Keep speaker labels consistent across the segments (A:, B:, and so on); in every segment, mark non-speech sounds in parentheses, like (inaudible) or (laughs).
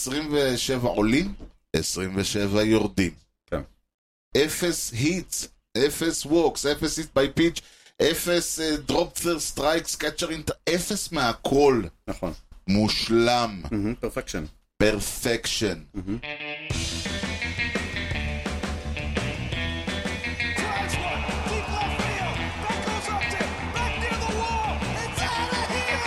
A: 27 עולים, 27 יורדים.
B: כן.
A: אפס היטס, אפס ווקס, אפס היט ביי פיץ', אפס אה, דרופטלר סטרייקס, קאצ'ר אינטר, אפס מהכל.
B: נכון.
A: מושלם.
B: פרפקשן.
A: פרפקשן.
C: Drives one, deep left field. That goes up to, back near the wall. It's out of here.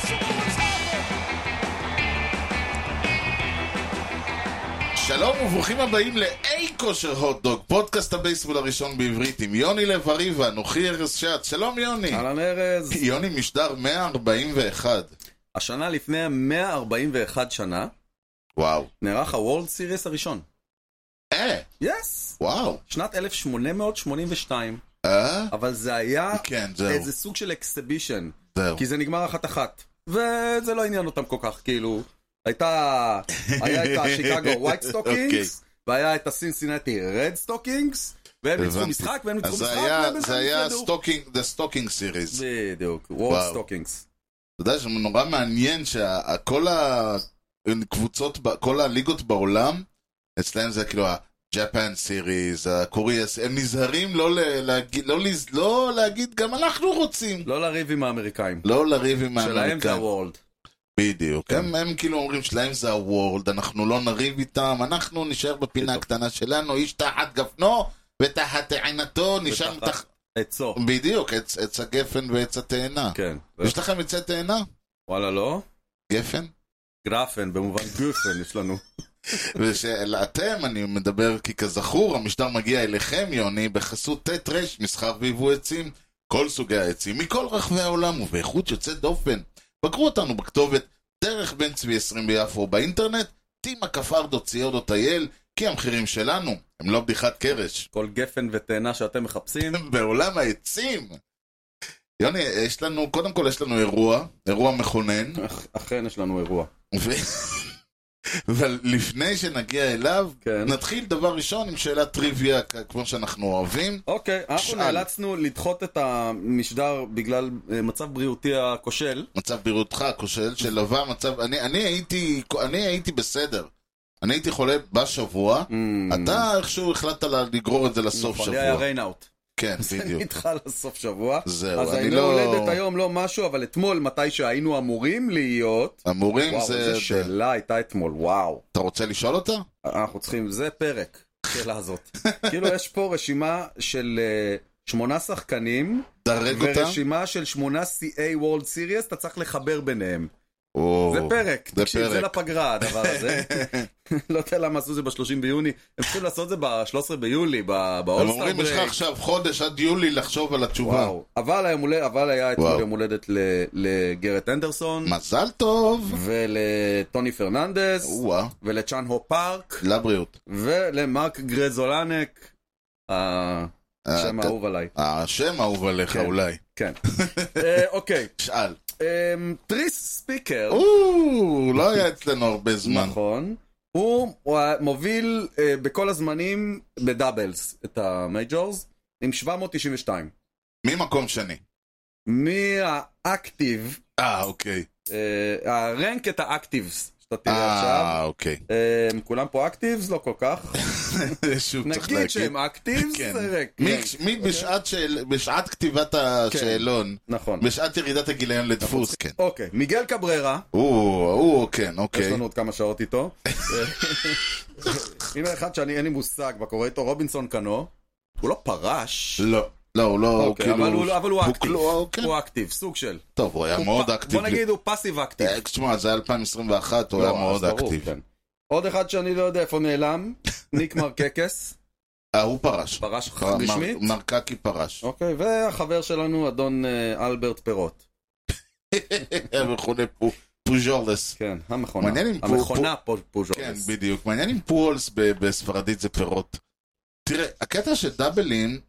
C: The impossible has happened.
A: שלום וברוכים הבאים לאי כושר הוטדוג, פודקאסט הבייסבול הראשון בעברית עם יוני לב-ארי ואנוכי ארז שעד. שלום יוני.
B: אהלן ארז.
A: יוני משדר 141.
B: השנה לפני 141 שנה,
A: וואו.
B: נערך הוולד סיריס הראשון.
A: אה,
B: יס!
A: וואו.
B: שנת 1882,
A: אה?
B: אבל זה היה
A: כן, זהו,
B: איזה סוג של אקסבישן,
A: זהו.
B: כי זה נגמר אחת-אחת. וזה לא עניין אותם כל כך, כאילו, הייתה, היה את השיקגו ווייט סטוקינגס, והיה את הסינסינטי רד סטוקינגס, והם ניצחו
A: אוקיי. הבנתי.
B: משחק, והם ניצחו
A: אז
B: משחק,
A: זה היה-
B: והם
A: זה היה
B: נפרדו.
A: סטוקינג, The Stalking Series.
B: בדיוק, וורד
A: וואו.
B: סטוקינגס.
A: אתה יודע שנורא מעניין שכל הקבוצות, ב- כל הליגות בעולם, אצלהם זה כאילו ה-Japan Series, הקוריאס, הם נזהרים לא ל- להגיד, לא לז- לא להגיד, גם אנחנו רוצים.
B: לא לריב עם האמריקאים.
A: לא לריב עם
B: שלהם זה כן.
A: האמריקאים.
B: הוולד.
A: בדיוק. הם הם כאילו אומרים שלהם זה הוורלד, אנחנו לא נריב איתם, אנחנו נישאר בפינה
B: בדיוק.
A: הקטנה שלנו, איש תחת גפנו ותחת עינתו, נשאר
B: ותחת-
A: מתחת...
B: עצו.
A: בדיוק, עץ עץ הגפן ועץ התאנה.
B: כן.
A: יש לכם עצי תאנה?
B: וואלה לא?
A: גפן?
B: גרפן, במובן גופן יש לנו.
A: ושאתם, אני מדבר כי כזכור, המשדר מגיע אליכם, יוני, בחסות ט' ר' מסחר ויבוא עצים, כל סוגי העצים, מכל רחבי העולם ובאיכות יוצאת דופן. בקרו אותנו בכתובת דרך בן צבי 20 ביפו או באינטרנט, טימה כפרדו ציודו טייל, כי המחירים שלנו הם לא בדיחת קרש. (laughs)
B: כל גפן ותאנה שאתם מחפשים.
A: בעולם העצים! יוני, יש לנו, קודם כל יש לנו אירוע, אירוע מכונן.
B: אכ- אכן יש לנו אירוע.
A: ו... (laughs) אבל לפני שנגיע אליו,
B: כן.
A: נתחיל דבר ראשון עם שאלת טריוויה כ- כמו שאנחנו אוהבים.
B: אוקיי, אנחנו
A: שאל.
B: נאלצנו לדחות את המשדר בגלל אה, מצב בריאותי הכושל.
A: מצב בריאותך, כושל שלווה, מצב... אני, אני, הייתי, אני הייתי בסדר. אני הייתי חולה בשבוע, אתה איכשהו החלטת לה- לגרור את זה לסוף
B: Mm. נכון, לי היה
A: שבוע.
B: ריינאוט. (laughs)
A: כן,
B: זה
A: בדיוק.
B: נדחה לסוף שבוע.
A: זהו,
B: אז
A: אני
B: היינו
A: לא-
B: הולדת היום לא משהו, אבל אתמול, מתי שהיינו אמורים להיות...
A: אמורים
B: וואו,
A: זה...
B: איזה שאלה הייתה אתמול, וואו.
A: אתה רוצה לשאול אותה?
B: אנחנו צריכים, זה פרק, השאלה הזאת. כאילו יש פה רשימה של אה, שמונה שחקנים,
A: דרג אותה?
B: ורשימה של שמונה CA World Series, אתה צריך לחבר ביניהם.
A: או,
B: זה פרק,
A: זה
B: תקשיב, זה
A: פרק.
B: לפגרה הדבר
A: (laughs)
B: הזה. לא יודע למה עשו את זה ב-30 ביוני, הם צריכים לעשות את זה ב-13 ביולי,
A: הם
B: באולסטאר
A: אומרים, יש לך
B: ברייק.
A: עכשיו חודש עד יולי לחשוב על התשובה.
B: וואו. אבל היום הולדת, אבל היה אתמול
A: וואו.
B: יום הולדת ל- לגרט אנדרסון,
A: מזל טוב!
B: ולטוני פרננדס,
A: וואה,
B: ולצ'אן הו פארק,
A: לבריאות.
B: ולמרק גרזולנק. אה, שם
A: אה,
B: האהוב עליי.
A: השם האהוב עליך
B: כן.
A: אולי.
B: כן.
A: (laughs)
B: אה, אוקיי,
A: שאל.
B: אמ, טריס ספיקר,
A: אוקיי. או, לא היה אצלנו הרבה זמן.
B: נכון, הוא הוא ה- מוביל אה, בכל הזמנים בדאבלס את המייג'ורס עם 792.
A: ממקום שני.
B: מהאקטיב,
A: אה, אוקיי.
B: אה, הרנק את האקטיבס שאתה תראה עכשיו.
A: אה,
B: (laughs)
A: אוקיי.
B: אמ, כולם פה אקטיבס? לא כל כך.
A: שוב (laughs) צריך
B: נגיד
A: להגיד.
B: שהם אקטיבס, אה,
A: כן.
B: זה רק-
A: מי-
B: רנק.
A: מי בשעת שאל- בשעת
B: כן.
A: כתיבת השאלון,
B: נכון.
A: בשעת ירידת הגיליון לדפוס, כן.
B: אוקיי, מיגל קבררה.
A: או, או, כן,
B: יש
A: אוקיי.
B: לנו עוד כמה שעות איתו. (laughs) הנה אחד שאני אין לי מושג מה קורה איתו, רובינסון קנו. הוא לא פרש.
A: לא. לא, הוא לא, הוא
B: אוקיי,
A: כאילו...
B: אבל הוא- אבל הוא אקטיב.
A: כלוא, כן.
B: הוא אקטיב, סוג של.
A: טוב, הוא היה
B: הוא
A: מאוד
B: פ-
A: אקטיב.
B: בוא נגיד הוא פאסיב אקטיב.
A: אה, תשמע, זה היה 2021, הוא
B: לא,
A: היה
B: אז
A: מאוד
B: ברור,
A: אקטיב.
B: כן. עוד אחד שאני לא יודע איפה נעלם, (laughs) ניק מרקקס,
A: אה, הוא פרש.
B: פרש
A: מר-
B: רשמית.
A: מרקקי פרש.
B: אוקיי, והחבר שלנו, אדון אה, אלברט פירוט.
A: וכולי פו- פוז'ורלס.
B: כן, המכונה.
A: מעניין אם פו-
B: המכונה
A: כן,
B: פוז'ורס.
A: בדיוק. מעניין אם פולס ב- בספרדית זה פירות. תראה, הקטע של דאבלים,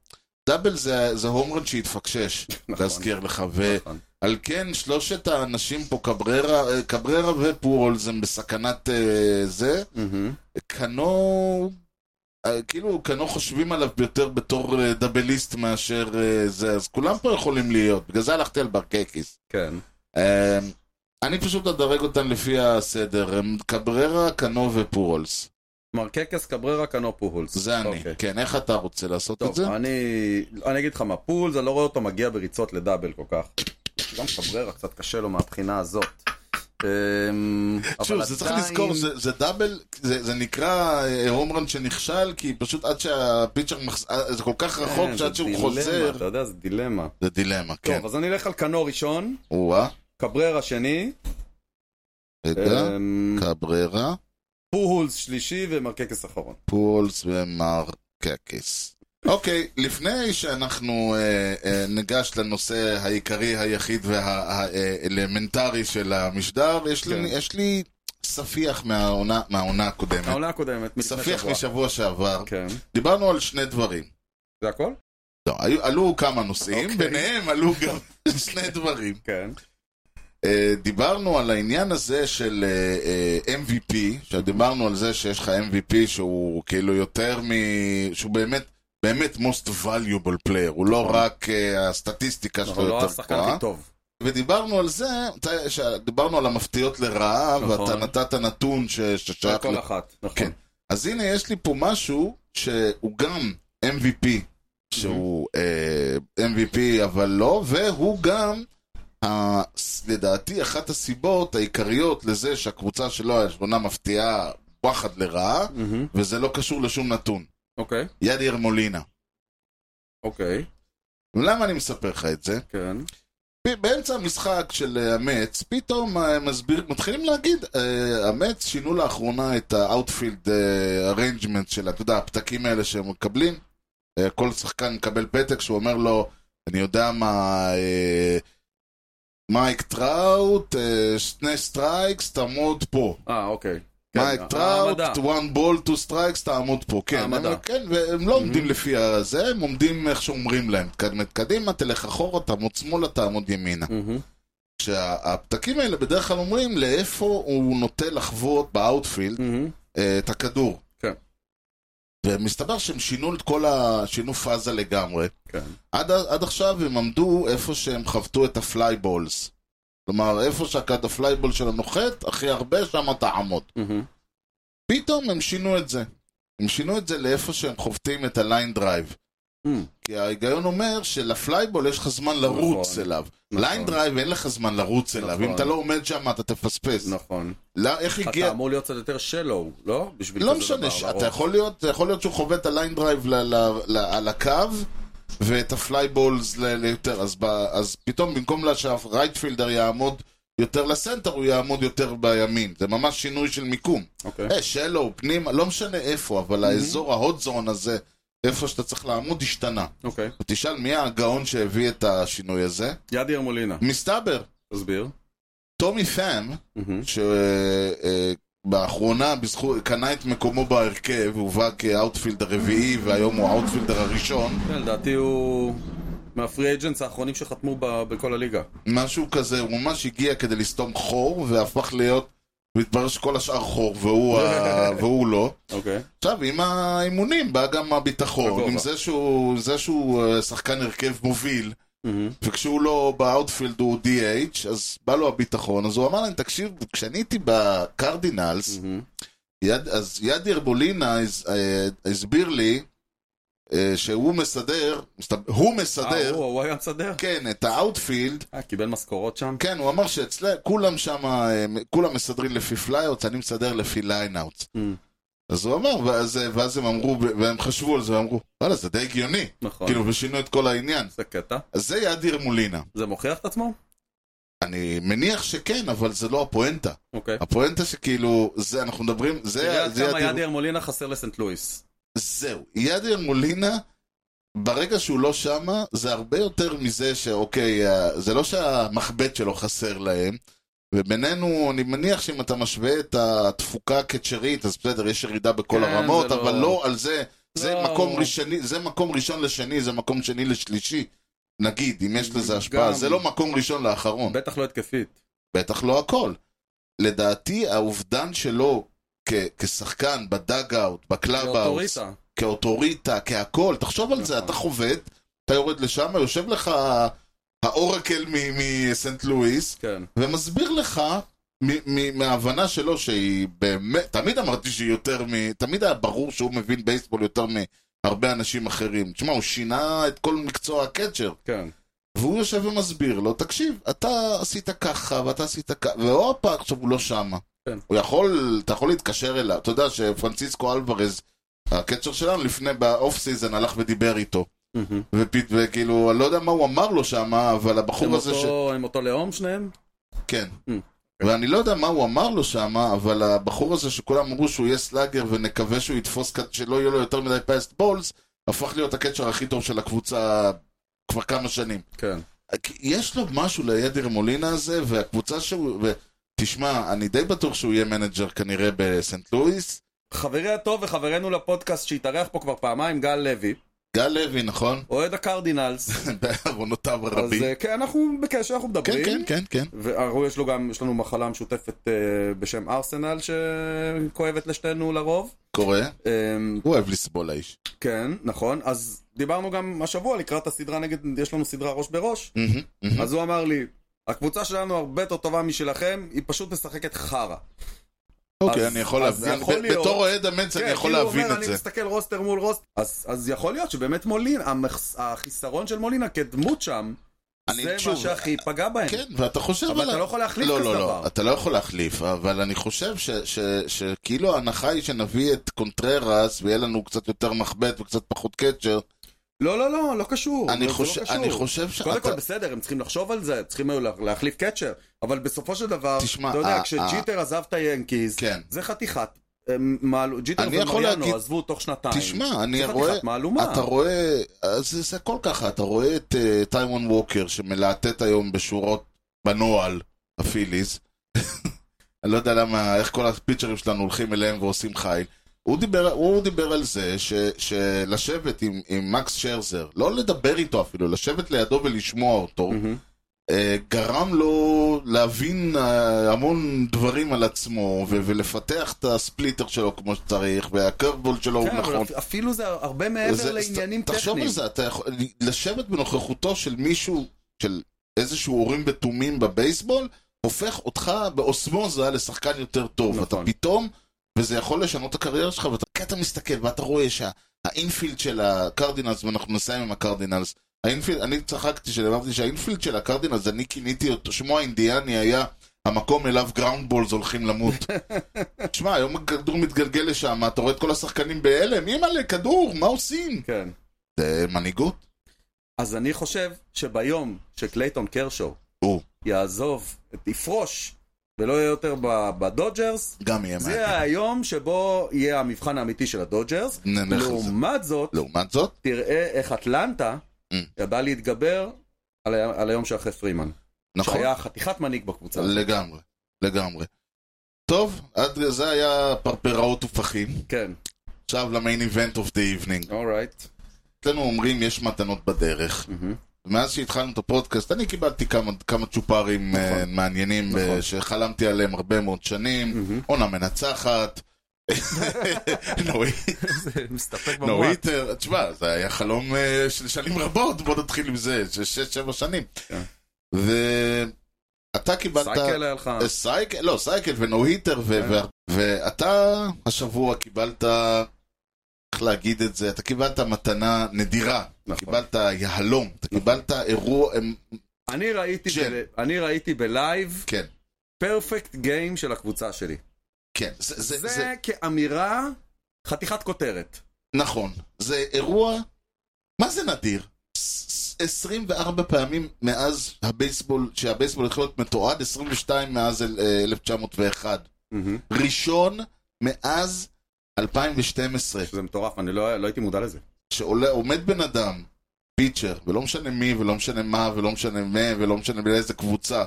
A: דאבל זה, זה הומרן שהתפקשש,
B: נכון.
A: להזכיר לך,
B: נכון.
A: ועל כן שלושת האנשים פה, קבררה, אה, קבררה ופולס הם בסכנת אה, זה,
B: מהמם.
A: קנו, אה, כאילו קנו חושבים עליו יותר בתור אה, דאבליסט מאשר אה, זה, אז כולם פה יכולים להיות, בגלל זה הלכתי על ברקקיס.
B: כן.
A: אה, אני פשוט אדרג אותן לפי הסדר, הם קבררה, קנו ופורולס.
B: מרקקס קבררה קנו פולס.
A: זה אני.
B: אוקיי.
A: כן, איך אתה רוצה לעשות את
B: טוב, אה,
A: זה?
B: אני, אני אגיד לך מה, פולס, אני לא רואה אותו מגיע בריצות לדאבל כל כך. גם קבררה קצת קשה לו מהבחינה הזאת. אמ, אבל
A: שוב, זה צריך
B: עדיין-
A: לזכור, זה, זה דאבל, זה, זה נקרא אה, הום רן שנכשל, כי פשוט עד שהפיצ'ר מחס... אה, זה כל כך רחוק,
B: כן, זה
A: שעד שהוא
B: דילמה,
A: חוזר...
B: אתה יודע, זה דילמה.
A: זה דילמה, כן.
B: טוב, אז אני אלך על קנו ראשון,
A: או-אה,
B: קבררה שני,
A: רגע,
B: אמ,
A: קבררה,
B: פולס שלישי ומרקקס אחרון.
A: פולס ומרקקס. אוקיי, לפני שאנחנו אה, אה, ניגש לנושא העיקרי, היחיד והאלמנטרי אה, של המשדר, יש לי,
B: כן.
A: יש לי ספיח מהעונה, מהעונה הקודמת.
B: העונה הקודמת, מלפני
A: ספיח
B: שבוע.
A: משבוע שעבר.
B: כן.
A: דיברנו על שני דברים.
B: זה הכל?
A: לא, היו, עלו כמה נושאים, okay.
B: אוקיי.
A: ביניהם עלו גם (laughs) שני דברים.
B: כן.
A: Uh, דיברנו על העניין הזה של uh, uh, MVP, שדיברנו על זה שיש לך MVP שהוא כאילו יותר מ... שהוא באמת, באמת most valuable player, הוא לא רק uh, הסטטיסטיקה שלו
B: אנחנו נכון. לא
A: יותר
B: השחקן
A: גבוהה.
B: הכי טוב.
A: ודיברנו על זה, אתה- ש- דיברנו על המפתיעות לרעה,
B: נכון.
A: ואתה נתת נתון ש-
B: על
A: ששייך
B: כל
A: ל-
B: אחת, נכון.
A: כן. אז הנה, יש לי פה משהו שהוא גם MVP, שהוא אה, MVP אבל לא, והוא גם, ה- לדעתי, אחת הסיבות העיקריות לזה שהקבוצה שלו, השמונה, מפתיעה וואחד לרעה,
B: מהמם.
A: וזה לא קשור לשום נתון.
B: אוקיי,
A: ידיאר מולינה.
B: אוקיי,
A: למה אני מספר לך את זה?
B: כן.
A: פ- באמצע המשחק של אה, המץ, פתאום אה, מסביר, מתחילים להגיד, אה, המץ שינו לאחרונה את האאוטפילד אריינג'מנט של, אתה יודע, הפתקים האלה שהם מקבלים. אה, כל שחקן מקבל פתק שהוא אומר לו, אני יודע מה, אה, מייק טראוט, אה, שני סטרייקס, תעמוד פה.
B: אה, אוקיי. כן,
A: מייק טראוט,
B: העמדה.
A: one ball, two strikes, תעמוד פה. כן,
B: העמדה. Mm-hmm.
A: הם, כן, והם לא עומדים לפי הזה, הם עומדים איך שאומרים להם. תקדמת קדימה, תלך אחורה, תעמוד שמאלה, תעמוד ימינה.
B: מהמם.
A: שהפתקים האלה בדרך כלל אומרים לאיפה הוא נוטה לחוות באאוטפילד
B: מהמם.
A: אה, את הכדור.
B: כן.
A: ומסתבר שהם שינו את כל ה... שינו פאזה לגמרי.
B: כן.
A: עד, עד עכשיו הם עמדו איפה שהם חבטו את הפלייבולס. כלומר, איפה שהכד הפלייבול שלו נוחת, הכי הרבה, שם תעמוד.
B: מהמם.
A: פתאום הם שינו את זה. הם שינו את זה לאיפה שהם חובטים את הליין דרייב.
B: מהמם.
A: כי ההיגיון אומר שלפלייבול יש לך זמן לרוץ
B: נכון.
A: אליו.
B: נכון.
A: ליין דרייב אין לך זמן לרוץ אליו.
B: נכון.
A: אם אתה לא עומד שם, אתה תפספס.
B: נכון.
A: לא, איך
B: אתה
A: הגיע...
B: אמור להיות קצת יותר שלו, לא? בשביל
A: לא
B: כזה
A: משנה,
B: דבר,
A: ש-
B: לרוב.
A: אתה יכול להיות, אתה יכול להיות שהוא חווה את הליין דרייב ל- ל- ל- על הקו ואת הפלייבולס ל- ליותר, אז, ב- אז פתאום במקום לה- שהרייטפילדר יעמוד יותר לסנטר, הוא יעמוד יותר בימין. זה ממש שינוי של מיקום.
B: אוקיי.
A: אה, שלו, פנימה, לא משנה איפה, אבל
B: Mm-hmm.
A: האזור ההוד זון הזה, איפה שאתה צריך לעמוד, השתנה.
B: אוקיי.
A: תשאל מי הגאון שהביא את השינוי הזה?
B: ידיר מולינה,
A: מסתבר,
B: תסביר. טומי
A: טומי פאם, אה,
B: מהמם.
A: שבאחרונה קנה את מקומו בהרכב, הובא כאוטפילד הרביעי והיום הוא האוטפילדר הראשון,
B: כן, לדעתי הוא מהפרי אג'נס האחרונים שחתמו ב- בכל הליגה.
A: משהו כזה, הוא ממש הגיע כדי לסתום חור והפך להיות, והתברר שכל השאר חור והוא, ה... והוא לא.
B: אוקיי.
A: עכשיו, עם האימונים בא גם הביטחון,
B: הגובה.
A: עם זה שהוא, זה שהוא אה, שחקן הרכב מוביל,
B: מהמם.
A: וכשהוא לא באאוטפילד הוא DH, אז בא לו הביטחון, אז הוא אמר להם, תקשיב, כשאני הייתי בקרדינלס,
B: מהמם.
A: יד, אז ידיר בולינה הז, אה, הסביר לי אה, שהוא מסדר, מסתב- הוא
B: אה,
A: מסדר,
B: הוא הוא היה מסדר?
A: כן, את האאוטפילד,
B: אה, קיבל משכורות שם?
A: כן, הוא אמר שאצלם, כולם שם, אה, כולם מסדרים לפי פלייאאוטס, אני מסדר לפי ליינאוטס.
B: Mm,
A: אז הוא אמר, ואז, אה, ואז הם אמרו, והם חשבו על זה, ואמרו, וואלה, זה די הגיוני.
B: נכון.
A: כאילו, ושינו את כל העניין.
B: זה קטע.
A: אז זה ידיר מולינה.
B: זה מוכיח את עצמו?
A: אני מניח שכן, אבל זה לא הפואנטה.
B: אוקיי.
A: הפואנטה שכאילו, זה, אנחנו מדברים, זה,
B: תראה עד
A: זה
B: כמה ידיר מולינה חסר לסנט לואיס.
A: זהו, ידיאר מולינה, ברגע שהוא לא שמה, זה הרבה יותר מזה שאוקיי, אה, זה לא שהמחבט שלו חסר להם, ובינינו, אני מניח שאם אתה משווה את התפוקה כצ'רית, אז בסדר, יש ירידה בכל
B: כן,
A: הרמות,
B: זה
A: אבל
B: לא-
A: לא על זה, זה,
B: לא.
A: מקום ראשוני, זה מקום ראשון לשני, זה מקום שני לשלישי. נגיד, אם יש לזה השפעה,
B: גם-
A: זה לא מקום ראשון לאחרון.
B: בטח לא התקפית.
A: בטח לא הכל. לדעתי, האובדן שלו כ- כשחקן, בדאג-אאוט, בקלאב-אאוט,
B: אוטוריטה.
A: כאוטוריטה, כהכל, תחשוב על זה,
B: נכון.
A: אתה חובט, אתה יורד לשם, יושב לך האורקל מ- מסנט לואיס,
B: כן.
A: ומסביר לך, מ- מ- מההבנה שלו שהיא באמת, תמיד אמרתי שהיא יותר מ... תמיד היה ברור שהוא מבין בייסבול יותר מהרבה אנשים אחרים. תשמע, הוא שינה את כל מקצוע הקצ'ר.
B: כן.
A: והוא יושב ומסביר לו, תקשיב, אתה עשית ככה, ואתה עשית ככה, והופה, עכשיו הוא לא שמה.
B: כן.
A: הוא יכול, אתה יכול להתקשר אליו. אתה יודע שפרנסיסקו אלוורז, הקצ'ר שלנו, לפני, באוף סיזן, הלך ודיבר איתו.
B: מהמם.
A: ופית, וכאילו, אני לא יודע מה הוא אמר לו שם, אבל
B: הם
A: הבחור הזה ש...
B: אותו- הם אותו לאום שניהם?
A: כן.
B: Mm.
A: ואני לא יודע מה הוא אמר לו שם, אבל הבחור הזה שכולם אמרו שהוא יהיה סלאגר ונקווה שהוא יתפוס, כ- שלא יהיו לו יותר מדי פייסט בולס, הפך להיות הקצ'ר הכי טוב של הקבוצה כבר כמה שנים.
B: כן.
A: יש לו משהו לידר מולינה הזה, והקבוצה שהוא... ו... תשמע, אני די בטוח שהוא יהיה מנג'ר כנראה בסנט לואיס.
B: חברי הטוב וחברנו לפודקאסט שהתארח פה כבר פעמיים, גל לוי,
A: גל לוי, נכון? (laughs)
B: אוהד הקרדינלס.
A: בעוונותיו
B: אז
A: הרבים.
B: אה, כן, אנחנו בקשר, אנחנו
A: כן,
B: מדברים.
A: כן, כן, כן.
B: ואנחנו יש לו גם, יש לנו מחלה משותפת אה, בשם ארסנל שכואבת לשתינו לרוב.
A: קורה.
B: אה,
A: הוא אוהב לסבול האיש.
B: כן, נכון. אז דיברנו גם השבוע לקראת הסדרה נגד, יש לנו סדרה ראש בראש.
A: מהמם, מהמם.
B: אז הוא אמר לי, הקבוצה שלנו הרבה יותר טובה משלכם, היא פשוט משחקת חרא.
A: אוקיי,
B: אז-
A: אני יכול
B: אז
A: להבין.
B: יכול
A: אני-
B: להיות-
A: בתור אוהד המץ אני יכול
B: כאילו הוא
A: להבין
B: אומר,
A: את זה.
B: אני מסתכל רוסטר מול רוסטר. אז, אז יכול להיות שבאמת מולין, המחס, החיסרון של מולינה כדמות שם,
A: אני-
B: זה
A: שוב,
B: מה שהכי פגע בהם.
A: כן, ואתה חושב
B: אבל אתה
A: עליו.
B: לא יכול להחליף
A: לא,
B: כזה
A: לא,
B: דבר.
A: לא, אתה לא יכול להחליף, אבל אני חושב ש- ש- שכאילו ההנחה היא שנביא את קונטררס ויהיה לנו קצת יותר מחבט וקצת פחות קצ'ר.
B: לא, לא, לא, לא קשור.
A: אני
B: זה לא
A: חושב-
B: קשור.
A: אני חושב שאתה...
B: קודם כל, בסדר, הם צריכים לחשוב על זה, צריכים היו לה- להחליף קצ'ר, אבל בסופו של דבר,
A: תשמע,
B: אתה
A: ה-
B: יודע,
A: ה-
B: כשג'יטר עזב את היאנקיז,
A: כן.
B: זה חתיכת... הם מעלו- ג'יטר
A: אני יכול
B: ומריאנו
A: להגיד-
B: עזבו תוך שנתיים.
A: תשמע, אני
B: זה
A: רואה...
B: חתיכת מהלומה.
A: אתה רואה... אז זה- זה הכל ככה, אתה רואה את אה, טיימון ווקר שמלהטט היום בשורות בנוהל, הפיליז. (laughs) אני לא יודע למה, איך כל הפיצ'רים שלנו הולכים אליהם ועושים חיל. הוא דיבר, הוא דיבר על זה ש, שלשבת עם, עם מקס שרזר, לא לדבר איתו אפילו, לשבת לידו ולשמוע אותו,
B: מהמם.
A: אה, גרם לו להבין אה, המון דברים על עצמו ו- ולפתח את הספליטר שלו כמו שצריך והקרבול שלו הוא
B: כן, אבל
A: נכון.
B: אפ- אפילו זה הרבה מעבר
A: זה-
B: לעניינים
A: ת- תחשוב
B: טכניים.
A: על זה, אתה יכול... לשבת בנוכחותו של מישהו, של איזשהו הורים בתומים בבייסבול, הופך אותך באוסמוזה לשחקן יותר טוב.
B: נכון.
A: אתה פתאום, וזה יכול לשנות את הקריירה שלך, ואתה כי אתה מסתכל ואתה רואה שהאינפילד של הקרדינלס, ואנחנו נסיים עם הקרדינלס, האינפילד, אני צחקתי כשאמרתי שהאינפילד של הקרדינלס, אני כיניתי אותו, שמו האינדיאני היה המקום אליו גראונד בולס הולכים
B: (laughs)
A: למות. שמע, היום הכדור מתגלגל לשם, אתה רואה את כל השחקנים בהלם, אימא'לה, כדור, מה עושים?
B: כן.
A: זה מנהיגות.
B: אז אני חושב שביום שקלייטון קרשו
A: או.
B: יעזוב, יפרוש, ולא יהיה יותר ב- בדודג'רס,
A: גם יהיה מעניין.
B: זה היום שבו יהיה המבחן האמיתי של הדודג'רס.
A: נלך על זה.
B: לעומת זאת,
A: לעומת זאת,
B: תראה איך אטלנטה
A: Mm.
B: ידעה להתגבר על, ה... על היום שאחרי פרימן.
A: נכון,
B: שהיה חתיכת מנהיג בקבוצה. ל...
A: לגמרי, לגמרי. טוב, עד זה היה פרפראות ופחים.
B: כן,
A: עכשיו למיין איבנט אוף דה איבנינג.
B: אורייט.
A: אצלנו אומרים יש מתנות בדרך.
B: מהמם.
A: מאז שהתחלנו את הפודקאסט, אני קיבלתי כמה, כמה צ'ופרים
B: נכון.
A: אה, מעניינים
B: נכון.
A: אה, שחלמתי עליהם הרבה מאוד שנים.
B: מהמם.
A: עונה מנצחת. no
B: (laughs) זה מסתפק במועט.
A: איטר. תשמע, זה היה חלום אה, של שנים רבות, בוא נתחיל עם זה, של שש, שבע שנים.
B: כן.
A: ואתה קיבלת...
B: סייקל היה לך.
A: אה, סייקל, לא, סייקל ונו היטר, ו-
B: כן.
A: וה- ואתה השבוע קיבלת, איך להגיד את זה, אתה קיבלת מתנה נדירה,
B: נכון.
A: קיבלת יהלום, אתה קיבלת אירוע, אמ,
B: אני ראיתי
A: של.
B: ב- אני ראיתי בלייב
A: כן,
B: פרפקט גיים של הקבוצה שלי.
A: כן, זה- זה, זה,
B: זה כאמירה חתיכת כותרת.
A: נכון, זה אירוע, מה זה נדיר? ס- 24 פעמים מאז הבייסבול, שהבייסבול התחיל להיות מתועד, 22 מאז אל- אה, 1901.
B: מהמם.
A: ראשון מאז 2012.
B: שזה מטורף, אני לא לא הייתי מודע לזה.
A: שעומד בן אדם, פיצ'ר, ולא משנה מי, ולא משנה מה, ולא משנה מה, ולא משנה באיזה קבוצה.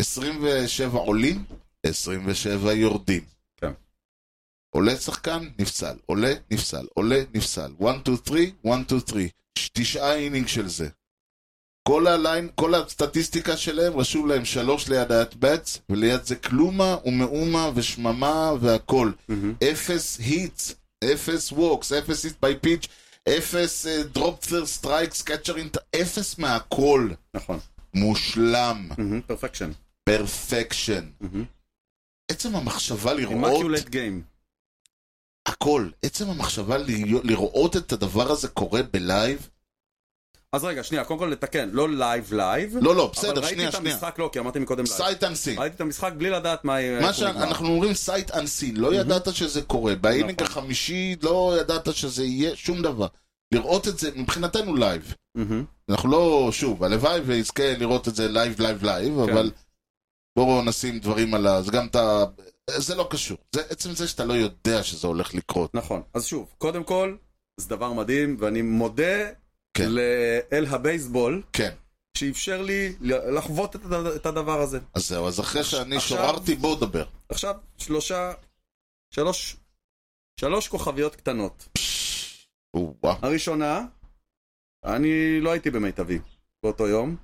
A: 27 עולים, 27 יורדים.
B: כן.
A: עולה שחקן, נפסל. עולה, נפסל. עולה, נפסל. 1, 2, 3, 1, 2, 3. תשעה אינינג של זה. כל הליין, כל הסטטיסטיקה שלהם, רשום להם שלוש ליד האטבץ, וליד זה כלומה ומאומה ושממה והכל.
B: מהמם.
A: אפס היטס, אפס ווקס, אפס היט ביי פיץ', אפס אה, דרופטר סטרייקס, קאצ'ר אינט, אפס מהכל.
B: נכון.
A: מושלם.
B: פרפקשן.
A: פרפקשן. עצם המחשבה לראות
B: אימקיולט גיים.
A: הכל, עצם המחשבה להיות- לראות את הדבר הזה קורה בלייב,
B: אז רגע, שנייה, קודם כל לתקן, לא לייב לייב.
A: לא, לא,
B: אבל
A: בסדר,
B: ראיתי
A: שנייה,
B: את
A: שנייה.
B: המשחק, לא, כי אמרתי מקודם לייב.
A: סייט אנסין.
B: ראיתי את המשחק בלי לדעת מה...
A: מה
B: איך הוא נגמר.
A: שאנחנו אומרים סייט אנסין, לא ידעת שזה קורה. באינינג
B: Mhm. נכון.
A: החמישי לא ידעת שזה יהיה שום דבר. לראות את זה מבחינתנו לייב.
B: מהמם.
A: אנחנו לא, שוב, הלוואי ויזכה לראות את זה לייב, לייב, לייב,
B: כן.
A: אבל בואו נשים דברים על ה... זה גם את ה... זה לא קשור. זה עצם זה שאתה לא יודע שזה הולך לקרות.
B: נכון. אז שוב, קודם כל, זה דבר מדהים, ואני מודה
A: כן.
B: לאל הבייסבול,
A: כן.
B: שאפשר לי ל- לחוות את הד- את הדבר הזה.
A: אז זהו, אז אחרי שאני
B: עכשיו-
A: שוררתי, בואו דבר.
B: עכשיו, שלושה... שלוש... שלוש כוכביות קטנות.
A: וואו.
B: הראשונה, אני לא הייתי במיטבי באותו יום.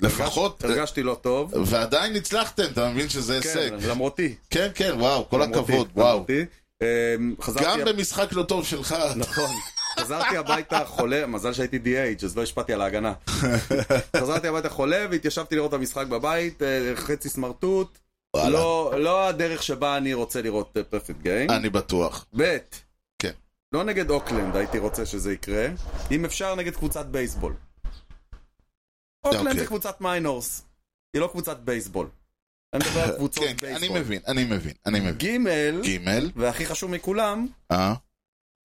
A: לפחות,
B: הרגשתי לא טוב.
A: ועדיין הצלחתם, אתה מבין שזה הישג.
B: כן, למרותי.
A: כן, כן, וואו, כל
B: למרותי,
A: הכבוד, וואו.
B: למרותי. אמ,
A: גם
B: חזרתי...
A: במשחק לא טוב שלך,
B: נכון. חזרתי הביתה חולה, מזל שהייתי DH, אז לא השפעתי על
A: (laughs)
B: ההגנה. חזרתי הביתה חולה והתיישבתי לראות את המשחק בבית, אה, חצי סמרטוט.
A: וואלה.
B: לא, לא הדרך שבה אני רוצה לראות פרפקט גיים.
A: אני בטוח.
B: ב',
A: כן.
B: לא נגד אוקלנד הייתי רוצה שזה יקרה, אם אפשר נגד קבוצת בייסבול. אוקלנד
A: אוקיי.
B: זה קבוצת מיינורס, היא לא קבוצת בייסבול. אני מדבר
A: (laughs)
B: על קבוצות
A: כן, כן, אני
B: בייסבול.
A: מבין, אני מבין, אני מבין.
B: ג',
A: גימל,
B: והכי חשוב מכולם,
A: אה?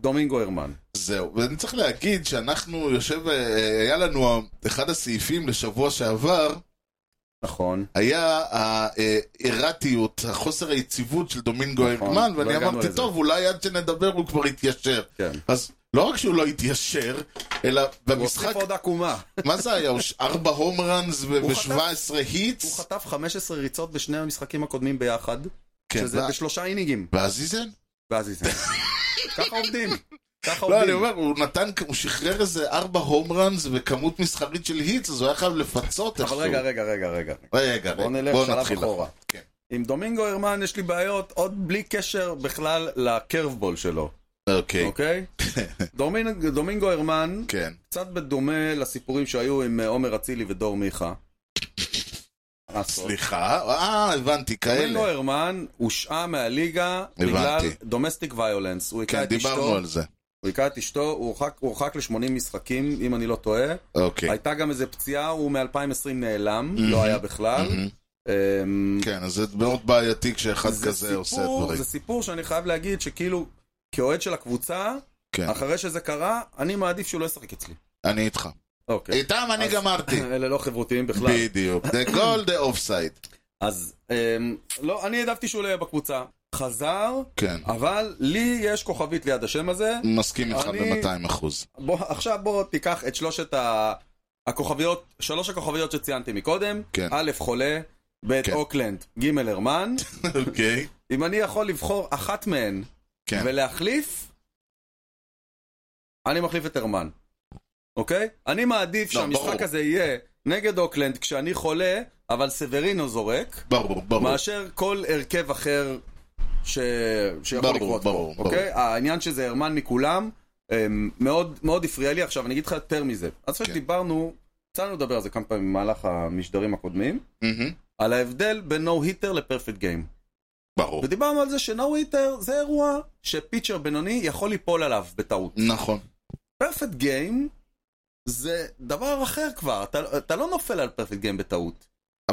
B: דומינגו הרמן.
A: זהו, ואני צריך להגיד שאנחנו יושב, אה, אה, היה לנו ה- אחד הסעיפים לשבוע שעבר,
B: נכון.
A: היה האירטיות, החוסר היציבות של דומינגו
B: נכון,
A: ארגמן,
B: לא
A: ואני
B: הגענו
A: אמרתי,
B: לזה.
A: טוב, אולי עד שנדבר הוא כבר יתיישר.
B: כן.
A: אז לא רק שהוא לא התיישר, אלא
B: הוא הוסיף
A: במשחק, (laughs)
B: עוד עקומה.
A: מה זה היה? הוא ש- ארבע הום ראנס
B: הוא
A: ו-17
B: הוא
A: היטס?
B: חטף 15 ריצות בשני המשחקים הקודמים ביחד,
A: כן,
B: שזה
A: וה-
B: בשלושה אינינגים.
A: והזיזן?
B: ואז
A: (laughs)
B: איזה... ככה עובדים. ככה
A: לא, אני
B: עובדים.
A: אומר, הוא נתן, הוא שחרר איזה ארבע הום ראנס וכמות מסחרית של היטס, אז הוא היה חייב לפצות
B: אבל
A: איכשהו.
B: רגע, רגע, רגע, רגע.
A: רגע,
B: בואו
A: רגע,
B: נלך
A: בואו
B: שלב
A: נתחיל.
B: אחורה.
A: כן.
B: עם דומינגו הרמן יש לי בעיות עוד בלי קשר בכלל לקרבבול שלו,
A: אוקיי, (laughs)
B: אוקיי? דומינג- דומינגו הרמן,
A: כן.
B: קצת בדומה לסיפורים שהיו עם אה, עומר אצילי ודור מיכה. הסוף.
A: סליחה, אה, הבנתי, כאלה.
B: דומינגו הרמן הושעה מהליגה בגלל
A: הבנתי.
B: דומסטיק ויולנס. הוא הכה
A: כן,
B: את אשתו,
A: דיברנו על זה.
B: הוא הכה את אשתו, הוא הורחק- הוא הורחק ל-80 משחקים, אם אני לא טועה.
A: אוקיי.
B: הייתה גם איזה פציעה, הוא מ-2020 נעלם,
A: Mhm.
B: לא היה בכלל.
A: מהמם.
B: אמ,
A: כן, אז זה מאוד בעייתי כשאחד
B: זה
A: כזה עושה
B: סיפור-
A: דברים.
B: זה סיפור שאני חייב להגיד שכאילו, כאוהד של הקבוצה,
A: כן,
B: אחרי שזה קרה, אני מעדיף שהוא לא ישחק אצלי.
A: אני איתך.
B: אוקיי.
A: איתם אני
B: אז-
A: גמרתי.
B: אלה לא חברותיים (laughs) בכלל.
A: בדיוק. The goal, the offside.
B: אז אמ, לא, אני העדפתי שהוא לא יהיה בקבוצה. חזר,
A: כן.
B: אבל לי יש כוכבית ליד השם הזה.
A: מסכים איתך
B: אני-
A: ב-200 אחוז. (laughs)
B: בוא, עכשיו בוא תיקח את שלושת ה... הכוכביות, שלוש הכוכביות שציינתי מקודם.
A: כן.
B: א', חולה, ב',
A: כן.
B: אוקלנד, ג',
A: (laughs)
B: הרמן.
A: אוקיי.
B: אם אני יכול לבחור אחת מהן
A: כן.
B: ולהחליף, אני מחליף את הרמן, אוקיי? אני מעדיף
A: לא,
B: שהמשחק
A: ברור.
B: הזה יהיה נגד אוקלנד כשאני חולה, אבל סברינו זורק,
A: ברור, ברור.
B: מאשר כל הרכב אחר ש... שיכול
A: ברור,
B: לקרות
A: ברור,
B: פה, אוקיי? העניין שזה הרמן מכולם, אמ, מאוד מאוד הפריע לי. עכשיו, אני אגיד לך יותר מזה. אז אחרי
A: כן.
B: שדיברנו, יצא לנו לדבר על זה כמה פעמים במהלך המשדרים הקודמים,
A: מהמם.
B: על ההבדל בין נו היטר לפרפקט גיים.
A: ברור.
B: ודיברנו על זה שנו היטר זה אירוע שפיצ'ר בינוני יכול ליפול עליו בטעות.
A: נכון.
B: פרפקט גיים זה דבר אחר כבר, אתה, אתה לא נופל על פרפקט גיים בטעות.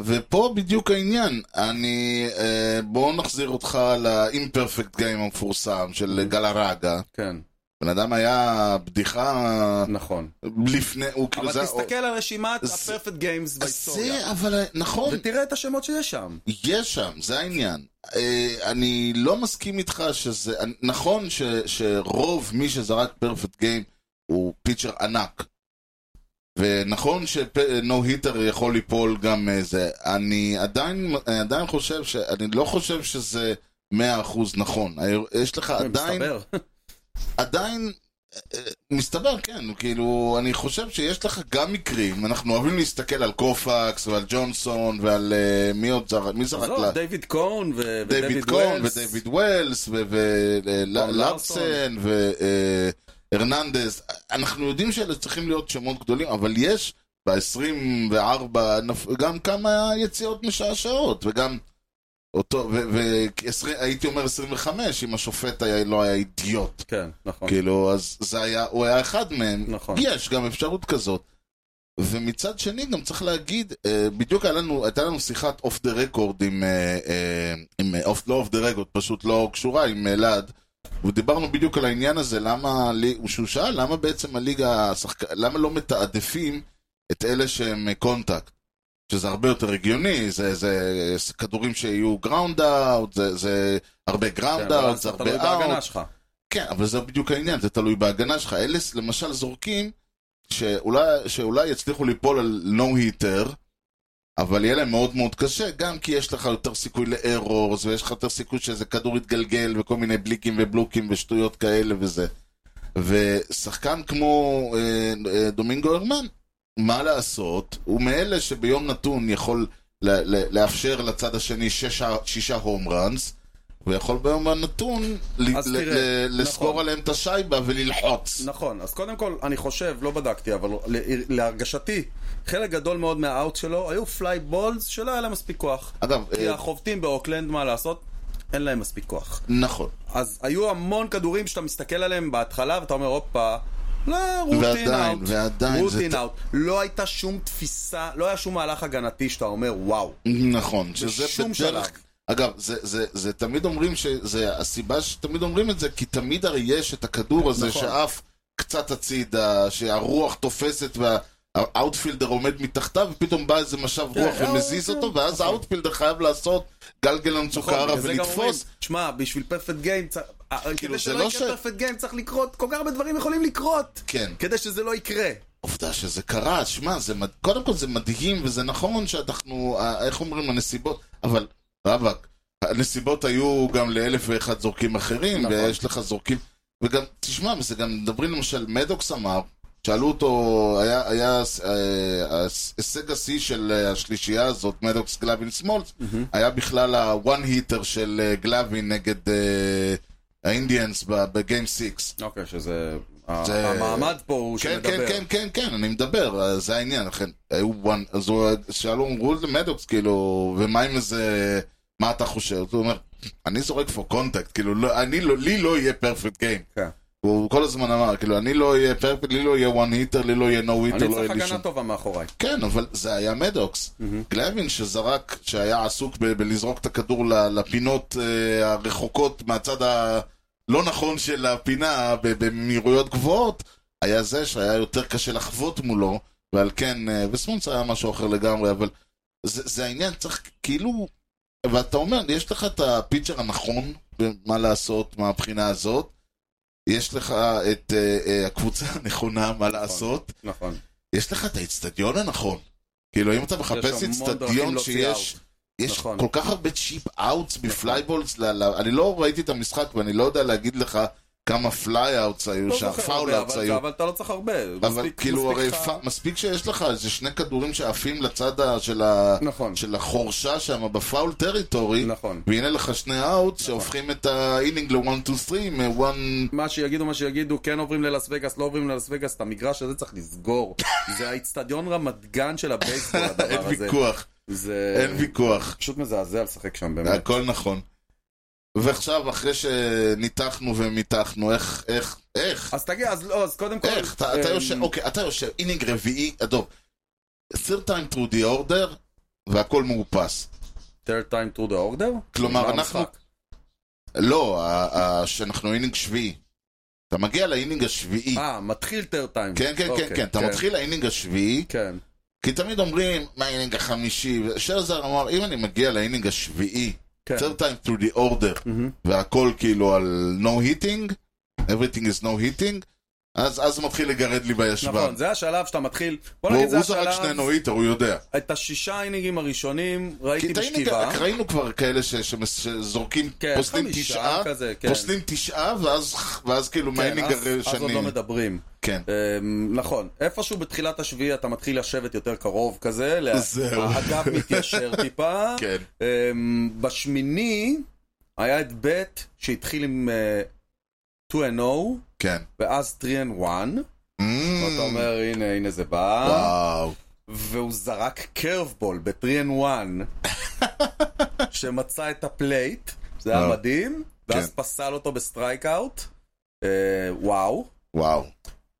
A: ופה בדיוק העניין, אני... אה, בואו נחזיר אותך לאימפרפקט גיים המפורסם של גלרגה.
B: כן,
A: בן אדם היה בדיחה
B: נכון.
A: לפני, הוא כאילו...
B: אבל
A: זה-
B: תסתכל על רשימת
A: זה-
B: הפרפקט גיימס בהיסטוריה.
A: זה, אבל... נכון.
B: ותראה את השמות שיש שם.
A: יש שם, זה העניין. אה, אני לא מסכים איתך שזה... נכון ש, שרוב מי שזרק פרפקט גיים הוא פיצ'ר ענק. ונכון שנו היטר יכול ליפול גם אה, זה. אני עדיין, אני עדיין חושב ש... אני לא חושב שזה 100% נכון. ה- יש לך עדיין...
B: מסתבר.
A: עדיין... אה, מסתבר, כן, כאילו, אני חושב שיש לך גם מקרים, אנחנו אוהבים להסתכל על קופקס ועל ג'ונסון ועל אה, מי עוד זרק, מי זרק לה?
B: עזוב, דיוויד קורן ו-
A: דיוויד
B: ודייוויד
A: קורן
B: ווילס.
A: אה, ודייוויד ווילס
B: לארסון.
A: ולארסן אה, הרננדז, אנחנו יודעים שאלה צריכים להיות שמות גדולים, אבל יש ב-24 גם כמה יציאות משעשעות, וגם אותו, והייתי אומר 25, אם השופט היה, לא היה אידיוט.
B: כן, נכון.
A: כאילו, אז זה היה, הוא היה אחד מהם.
B: נכון.
A: יש גם אפשרות כזאת. ומצד שני, גם צריך להגיד, אה, בדיוק היה לנו, הייתה לנו שיחת אוף דה רקורד עם, אה, אה, עם אה, off, לא אוף דה רקורד, פשוט לא קשורה, עם אלעד. ודיברנו בדיוק על העניין הזה, למה, לי- שהוא שאל, למה בעצם הליגה, השחק... למה לא מתעדפים את אלה שהם אה, קונטקט? שזה הרבה יותר הגיוני, זה, זה, זה כדורים שיההו גראונד אאוט, זה, זה הרבה גראונד
B: כן, אבל
A: אאוט,
B: אז
A: זה
B: תלוי
A: הרבה אאוט.
B: בהגנה שלך.
A: כן, אבל זה בדיוק העניין, זה תלוי בהגנה שלך. אלה למשל זורקים שאולי, שאולי יצליחו ליפול על נו היטר, אבל יהיה להם מאוד מאוד קשה, גם כי יש לך יותר סיכוי לארורס, ויש לך יותר סיכוי שאיזה כדור יתגלגל, וכל מיני בליקים ובלוקים ושטויות כאלה וזה. ושחקן כמו אה, אה, דומינגו הרמן, מה לעשות, הוא מאלה שביום נתון יכול ל- ל- לאפשר לצד השני שישה, שישה הום ראנס, ויכול ביום הנתון ל-
B: אז
A: ל-
B: תראה,
A: ל-
B: נכון.
A: לסגור עליהם את השייבה וללחוץ.
B: נכון, אז קודם כל, אני חושב, לא בדקתי, אבל ל- להרגשתי, חלק גדול מאוד מהאאוט שלו היו פליי בולס שלא היה להם מספיק כוח.
A: אגב,
B: כי
A: אה,
B: החובטים באוקלנד, מה לעשות? אין להם מספיק כוח.
A: נכון.
B: אז היו המון כדורים שאתה מסתכל עליהם בהתחלה ואתה אומר, הופה, לא, רוטין
A: ועדיין,
B: אאוט.
A: ועדיין, זה
B: רוטין אאוט. לא הייתה שום תפיסה, לא היה שום מהלך הגנתי שאתה אומר, וואו.
A: נכון, שזה
B: בשום
A: בדרך...
B: שלב.
A: אגב, זה, זה, זה תמיד אומרים שזה, הסיבה שתמיד אומרים את זה, כי תמיד הרי יש את הכדור הזה
B: נכון.
A: שעף קצת הצידה, שהרוח תופסת והאוטפילדר עומד מתחתיו, ופתאום בא איזה משב
B: כן,
A: רוח
B: אה,
A: ומזיז
B: כן,
A: אותו, ואז
B: נכון.
A: האוטפילדר חייב לעשות גלגלן צוקרה
B: בגלל זה גם אומרים,
A: ולתפוס.
B: שמע, בשביל פרפקט גיים,
A: כאילו,
B: אה, כדי
A: זה
B: שלא
A: לא
B: יקרה
A: ש-
B: פרפקט גיים צריך לקרות, כל כך הרבה דברים יכולים לקרות.
A: כן.
B: כדי שזה לא יקרה.
A: עובדה שזה קרה, שמע, זה מד... קודם כל זה מדהים, וזה נכון שאנחנו, אה, איך אומרים, הנסיבות, אבל, רבאק, הנסיבות היו גם לאלף ואחד זורקים אחרים,
B: נכון.
A: נכון. ויש לך זורקים, וגם, תשמע, וזה גם, מדברים למשל, מדוקס אמר, שאלו אותו, היה, היה אה, הס- הישג השיא של אה, השלישייה הזאת, מדוקס גלווין סמולס, היה בכלל הוואן היטר של אה, גלווין נגד אה, האינדיאנס בגיים סיקס.
B: אוקיי, שזה...
A: זה-
B: המעמד פה הוא
A: כן,
B: שמדבר.
A: כן, כן, כן, כן, אני מדבר, אז זה העניין, לכן, היו וואן, אז הוא- שאלו, אמרו למדוקס, כאילו, ומה עם איזה, מה אתה חושב? אז הוא אומר, אני זורק for contact, כאילו, לא, אני לא, לי לא יהיה perfect game.
B: כן.
A: הוא כל הזמן אמר, כאילו, אני לא אהיה perfect, לי לא יהיה one hitter, לי לא יהיה no hitter,
B: אני
A: לא
B: צריך
A: יהיה לי
B: הגנה
A: שום.
B: טובה מאחוריי.
A: כן, אבל זה היה מדוקס. גלווין שזרק, שהיה עסוק ב- בלזרוק את הכדור ל- לפינות אה, הרחוקות מהצד הלא נכון של הפינה ב- במהירויות גבוהות, היה זה שהיה יותר קשה לחוות מולו, ועל כן, אה, וסמונס היה משהו אחר לגמרי, אבל זה, זה העניין, צריך כאילו... ואתה אומר, יש לך את הפיצ'ר הנכון, מה לעשות מהבחינה הזאת, יש לך את אה, אה, הקבוצה הנכונה, מה לעשות,
B: נכון.
A: יש לך את האיצטדיון הנכון. כאילו, אם אתה מחפש
B: יש המון דרכים
A: איצטדיון
B: להוציא
A: שיש...
B: out.
A: יש
B: נכון.
A: כל כך הרבה צ'יפ אאוטס בפלייבולס, ל- ל- אני לא ראיתי את המשחק ואני לא יודע להגיד לך כמה פליי אאוטס היו
B: לא
A: שם,
B: זוכר
A: פאול
B: הרבה,
A: אאוטס
B: אבל-
A: היו.
B: אבל אתה לא צריך הרבה.
A: אבל
B: מספיק-
A: כאילו,
B: מספיק
A: הרי
B: לך-
A: פ- מספיק שיש לך איזה שני כדורים שעפים לצד ה- של ה-
B: נכון.
A: של החורשה שם, בפאול טריטורי,
B: נכון.
A: והנה לך שני אאוטס שהופכים את האינינג ל-1-2-3, מ-1...
B: מה שיגידו, מה שיגידו, כן עוברים ללאס וגאס, לא עוברים ללאס וגאס, את המגרש הזה צריך לסגור. זה האיצטדיון רמת גן של (laughs) הבייסבול, לא, הדבר הזה. אה,
A: אין ויכוח,
B: זה
A: אין ויכוח.
B: פשוט מזעזע לשחק שם, באמת.
A: הכל נכון. ועכשיו, אחרי שניתחנו ומיתחנו, איך, איך, איך,
B: אז תגיד, אז לא, אז קודם כל...
A: איך, אתה אתה
B: אמ,
A: יושב, אוקיי, אתה יושב, אינינג רביעי, אדום. סיר טיים טרו די אורדר, והכל מאופס.
B: third time through the order?
A: כלומר,
B: נגמר
A: אנחנו-
B: המשחק.
A: לא, ה- ה- שאנחנו אינינג שביעי. אתה מגיע לאינינג השביעי.
B: אה, מתחיל third
A: כן,
B: time.
A: כן, כן,
B: אוקיי,
A: כן, אתה מתחיל לאינינג השביעי,
B: כן,
A: כי תמיד אומרים, מה האינינג החמישי? שרזר אמר, אם אני מגיע לאינינג השביעי,
B: כן. Mm-hmm.
A: third time through the order,
B: מהמם.
A: והכל כאילו על no hitting, everything is no hitting, אז אז מתחיל לגרד לי בישבן.
B: נכון, זה השלב שאתה מתחיל... בוא
A: הוא
B: נגיד, זה
A: הוא זרק שני
B: השלב...
A: נוהיטר, הוא יודע.
B: את השישה אינינגים הראשונים
A: כי
B: ראיתי
A: טעינו,
B: בשכיבה.
A: ראינו כבר כאלה ש- שמס- שזורקים,
B: כן,
A: פוסלים
B: חמישה
A: תשעה,
B: כזה, כן.
A: פוסלים תשעה, ואז- ואז כאילו
B: כן,
A: מהאינינג
B: אז- אז עוד
A: השני.
B: לא מדברים.
A: כן.
B: אמ, נכון, איפשהו בתחילת השביעי אתה מתחיל לשבת יותר קרוב כזה, לה-
A: זהו.
B: האגף
A: (laughs)
B: מתיישר טיפה.
A: כן.
B: אמ, בשמיני היה את ב' שהתחיל עם אה, 2 and 0,
A: כן.
B: ואז 3 and 1, ואתה אומר, אה? הנה, הנה זה בא,
A: Mm. וואו.
B: והוא זרק קרבבול ב-3 and
A: (laughs)
B: 1, שמצא את הפלייט, זה היה
A: וואו.
B: מדהים, ואז
A: כן.
B: פסל אותו בסטרייק אאוט, אה, וואו.
A: וואו.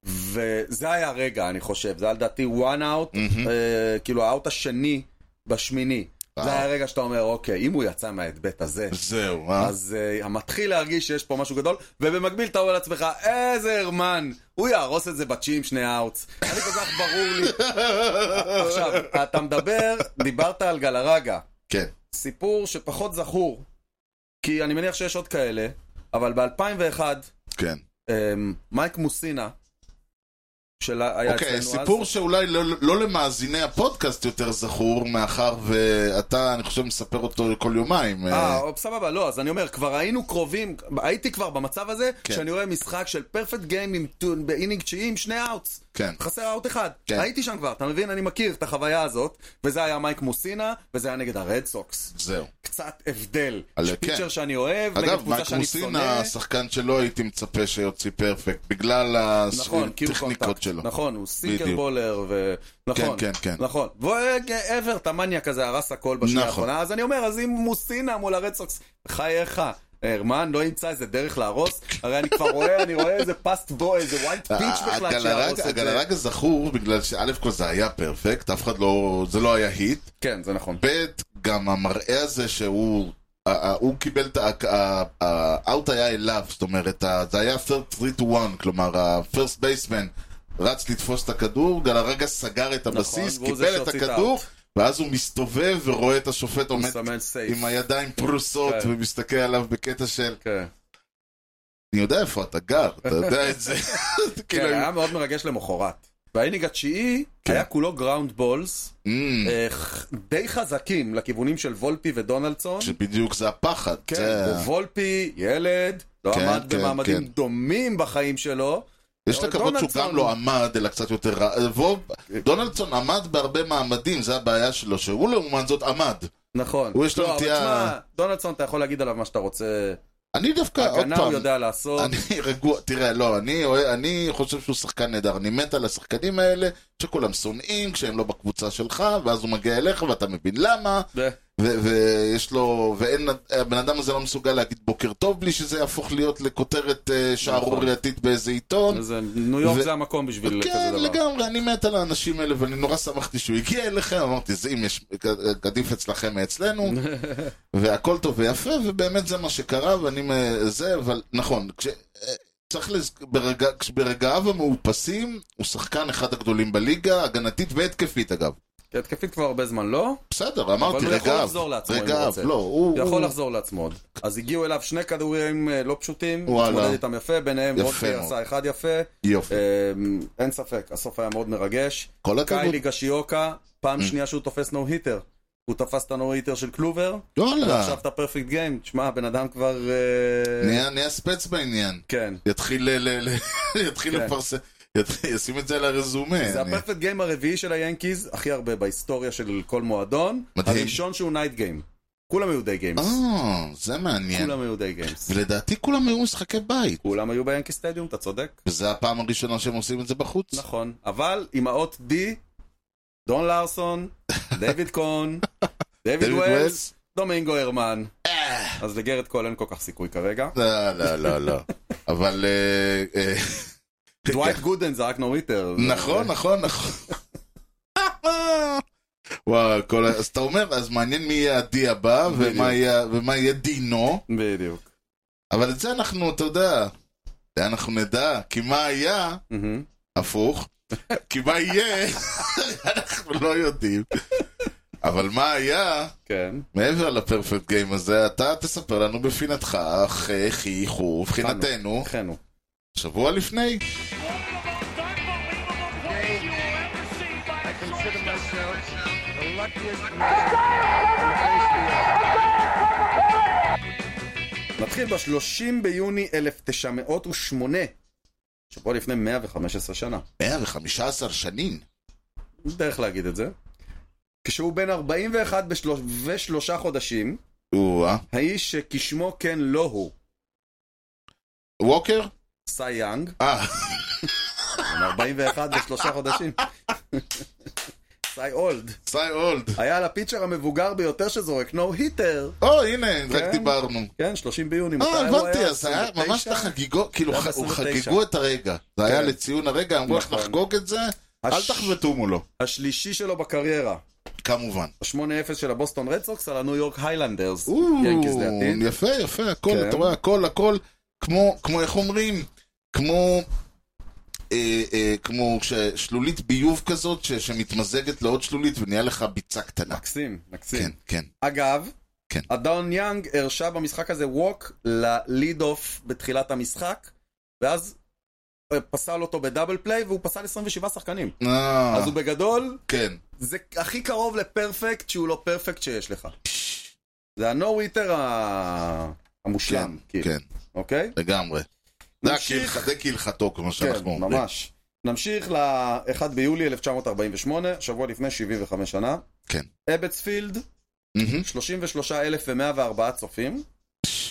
B: וזה היה הרגע, אני חושב, זה היה לדעתי one out,
A: מהמם.
B: אה, כאילו האאוט השני בשמיני.
A: וואו.
B: זה היה הרגע שאתה אומר, אוקיי, אם הוא יצא מההדבט הזה,
A: זהו, אה?
B: אז אה, מתחיל להרגיש שיש פה משהו גדול, ובמקביל אתה אומר לעצמך, איזה הרמן, הוא יהרוס את זה בצ'י עם שני האוטס. היה לי כל כך ברור
A: (laughs)
B: לי. עכשיו, אתה מדבר, דיברת על גלרגה.
A: כן.
B: סיפור שפחות זכור, כי אני מניח שיש עוד כאלה, אבל ב-2001,
A: כן.
B: אמ, מייק מוסינה, שהיה
A: אוקיי,
B: אצלנו
A: סיפור
B: אז,
A: שאולי לא- לא למאזיני הפודקאסט יותר זכור, מאחר ואתה, אני חושב, מספר אותו כל יומיים. אה,
B: אה, או, סבבה, לא, אז אני אומר, כבר היינו קרובים, הייתי כבר במצב הזה,
A: כן.
B: שאני רואה משחק של פרפקט גיים עם טון- באינינג תשיעי עם שני אאוטס.
A: כן.
B: חסר אאוט אחד.
A: כן.
B: הייתי שם כבר, אתה מבין? אני מכיר את החוויה הזאת, וזה היה מייק מוסינה, וזה היה נגד הרד סוקס.
A: זהו.
B: קצת הבדל.
A: אבל
B: יש
A: כן.
B: פיצ'ר שאני אוהב, נגד
A: אגב,
B: קבוצה
A: מייק
B: שאני
A: מוסינה,
B: שונא.
A: השחקן שלא הייתי מצפה שיוציא פרפקט, בגלל
B: נכון, קיו
A: הטכניקות
B: קונטקט,
A: שלו.
B: נכון, הוא סינגל
A: בדיוק.
B: בולר, ו... נכון,
A: כן, כן.
B: נכון. ואברט המניאק הזה הרס הכל בשנייה
A: נכון.
B: האחרונה, אז אני אומר, אז אם מוסינה מול הרדסוקס, חייך. הרמן לא ימצא איזה דרך להרוס, הרי אני כבר רואה, אני רואה איזה פאסט בו, איזה ווייט
A: אה,
B: פיץ' בכלל שיהרוס
A: הגלרג-
B: את זה.
A: הגלרג הזכור, בגלל שא' כל זה היה פרפקט, אף אחד לא, זה לא היה היט.
B: כן, זה נכון.
A: ב', גם המראה הזה שהוא, ה- ה- הוא קיבל, את ה- ה- ה- האאוט היה אליו, זאת אומרת, ה- זה היה first 3 to 1, כלומר, ה-first baseman רץ לתפוס את הכדור, גלרגה סגר את הבסיס,
B: נכון, והוא זה
A: קיבל את
B: שהוציא את
A: הכדור,
B: האאוט.
A: ואז הוא מסתובב ורואה את השופט
B: הוא
A: עומד
B: מסמן סייף.
A: עם הידיים פרוסות
B: כן.
A: ומסתכל עליו בקטע של,
B: כן,
A: אני יודע איפה אתה גר, אתה יודע את זה.
B: (laughs) כן,
A: כאילו,
B: היה מאוד מרגש למחרת. והאינינג התשיעי
A: כן.
B: היה כולו גראונד בולס,
A: Mm,
B: אה, ח- די חזקים לכיוונים של וולפי ודונלדסון.
A: שבדיוק זה הפחד.
B: כן,
A: זה-
B: וולפי, ילד, לא
A: כן,
B: עמד
A: כן,
B: במעמדים
A: כן.
B: דומים בחיים שלו.
A: יש לקוות שהוא
B: דונלדסון- אה,
A: גם לא עמד, אלא קצת יותר רע. ווב, דונלדסון עמד בהרבה מעמדים, זה הבעיה שלו, שהוא לעומת זאת עמד.
B: נכון.
A: הוא יש לו
B: לא, אבל
A: נטייה-
B: תשמע, דונלדסון, אתה יכול להגיד עליו מה שאתה רוצה.
A: אני דווקא, כן, עוד
B: הגנה הוא
A: פעם,
B: יודע לעשות.
A: אני (laughs) רגוע, תראה, לא, אני אוהב- אני חושב שהוא שחקן נהדר, אני מת על השחקנים האלה, שכולם שונאים כשהם לא בקבוצה שלך, ואז הוא מגיע אליך ואתה מבין למה,
B: ו-
A: ו- ויש לו, ואין, הבן אדם הזה לא מסוגל להגיד בוקר טוב בלי שזה יהפוך להיות לכותרת
B: נכון.
A: אה, שערורייתית באיזה עיתון.
B: זה- ניו יורק
A: ו-
B: זה המקום בשביל
A: כן,
B: כזה דבר.
A: לגמרי, אני מת על האנשים האלה, ואני נורא שמחתי שהוא הגיע אליכם, אמרתי, זה אם יש, עדיף אצלכם
B: (laughs)
A: מאצלנו, והכל טוב ויפה, ובאמת זה מה שקרה, ואני מ- זה, אבל נכון, כש... אה, צריך לז... ברגע... כש- ברגעיו המאופסים, הוא שחקן אחד הגדולים בליגה, הגנתית והתקפית אגב.
B: כי התקפית כבר הרבה זמן לא,
A: בסדר, אמרתי,
B: אבל הוא יכול
A: רגעיו,
B: לחזור לעצמו אם הוא
A: רגעיו,
B: רוצה.
A: לא, הוא...
B: הוא יכול
A: הוא-
B: לחזור לעצמו עוד. אז הגיעו אליו שני כדורים אה, לא פשוטים,
A: וואלה.
B: התמודד איתם יפה, ביניהם
A: יפה
B: וולפי
A: מאוד.
B: עשה אחד יפה.
A: יופי,
B: אה, אין ספק, הסוף היה מאוד מרגש.
A: כל הכבוד, Mm.
B: קיילי גשיוקה, פעם שנייה שהוא תופס נו היטר. הוא תפס את הנו היטר של קלובר,
A: וואלה,
B: ועכשיו את הפרפקט גיים. תשמע, הבן אדם כבר... אה,
A: נהיה נהיה ספץ בעניין,
B: כן.
A: יתחיל אה, ל- ל- (laughs) ל- יתחיל
B: כן.
A: לפרסם, ית- ישים את זה על הרזומה.
B: זה
A: אני-
B: הפרפקט גיים הרביעי של היאנקיז, הכי הרבה בהיסטוריה של כל מועדון.
A: מדהים.
B: הראשון שהוא נייט גיים. כולם היו די גיימס.
A: אה, זה מעניין.
B: כולם היו די גיימס.
A: ולדעתי כולם היו משחקי בית.
B: כולם היו ביאנקי סטדיום, אתה צודק.
A: וזו הפעם הראשונה שהם עושים את זה בחוץ.
B: נכון. אבל עם האות D, דון
A: (laughs)
B: לארסון, דיוויד קון, דיוויד
A: דויד אה.
B: ווילס, דומינגו הרמן. אז לגרד קול אין כל כך סיכוי כרגע.
A: לא, לא, לא,
B: (laughs)
A: לא. אבל... אה, אה,
B: דווייט גודן זרק נו היטר.
A: נכון, נכון, (laughs) נכון. וואו, כל ה- אז אתה אומר, אז מעניין מי יהיה ה-D הבא,
B: בדיוק.
A: ומה יהיה- ומה יהיה דינו,
B: בדיוק.
A: אבל את זה אנחנו, אתה יודע, זה אנחנו נדע, כי מה היה,
B: מהמם.
A: הפוך, כי מה יהיה, אנחנו לא יודעים. אבל מה היה,
B: כן.
A: מעבר לפרפקט גיים הזה, אתה תספר לנו בפינתך, אחי, חי, חו, מבחינתנו,
B: אכן הוא.
A: שבוע לפני.
C: One of the most unbelievable plays you will ever see by a
D: consider
C: shortstop.
D: myself the luckiest man.
B: נתחיל ב-30 ביוני 1908, שבוע לפני 115 שנה.
A: 115 שנים.
B: יש דרך להגיד את זה. כשהוא בן 41 בשלוש- ושלושה חודשים,
A: או-אה.
B: האיש שכשמו כן לא הוא.
A: ווקר?
B: סי יאנג,
A: אה,
B: בן 41 ושלושה חודשים. (laughs) סי אולד.
A: סי אולד.
B: היה על הפיצ'ר המבוגר ביותר שזורק נו היטר.
A: או, הנה, רק
B: כן.
A: דיברנו.
B: כן, 30 ביוני. מתי
A: אה,
B: הוא
A: הבנתי, אז זה היה ממש
B: 29?
A: לחגיגות, כאילו,
B: היה
A: ח- הוא
B: ב-29.
A: חגגו את הרגע. זה היה לציון הרגע, אמרו לך
B: נכון.
A: לחגוג את זה, אל
B: הש-
A: תחבטו מולו.
B: השלישי שלו בקריירה.
A: כמובן.
B: ה-8-0 של הבוסטון רד סוקס על הניו יורק היילנדרס.
A: אוו,
B: ינקיז לעתיד.
A: יפה, יפה, הכל,
B: כן.
A: אתה רואה, הכל, הכל, כמו, כמו, איך אומרים? כמו, אה, אה, כמו ש- שלולית ביוב כזאת, ש- שמתמזגת לעוד שלולית ונהיה לך ביצה קטנה.
B: מקסים, מקסים.
A: כן, כן.
B: אגב,
A: כן.
B: אדון יאנג הרשה במשחק הזה ווק לליד אוף בתחילת המשחק, ואז אה, פסל אותו בדאבל פליי, והוא פסל 27 שחקנים.
A: אה,
B: אז הוא בגדול,
A: כן.
B: זה הכי קרוב לפרפקט שהוא לא פרפקט שיש לך. זה הנו וויטר המושלם,
A: כן,
B: כאילו,
A: כן,
B: אוקיי?
A: לגמרי. זה
B: נמשיך.
A: הקילח- זה כהלכתו, כמו
B: כן,
A: שאנחנו אומרים.
B: ממש. נמשיך ל-1 ביולי 1948, שבוע לפני 75 שנה.
A: כן.
B: אבטספילד,
A: מהמם.
B: 33,104 צופים.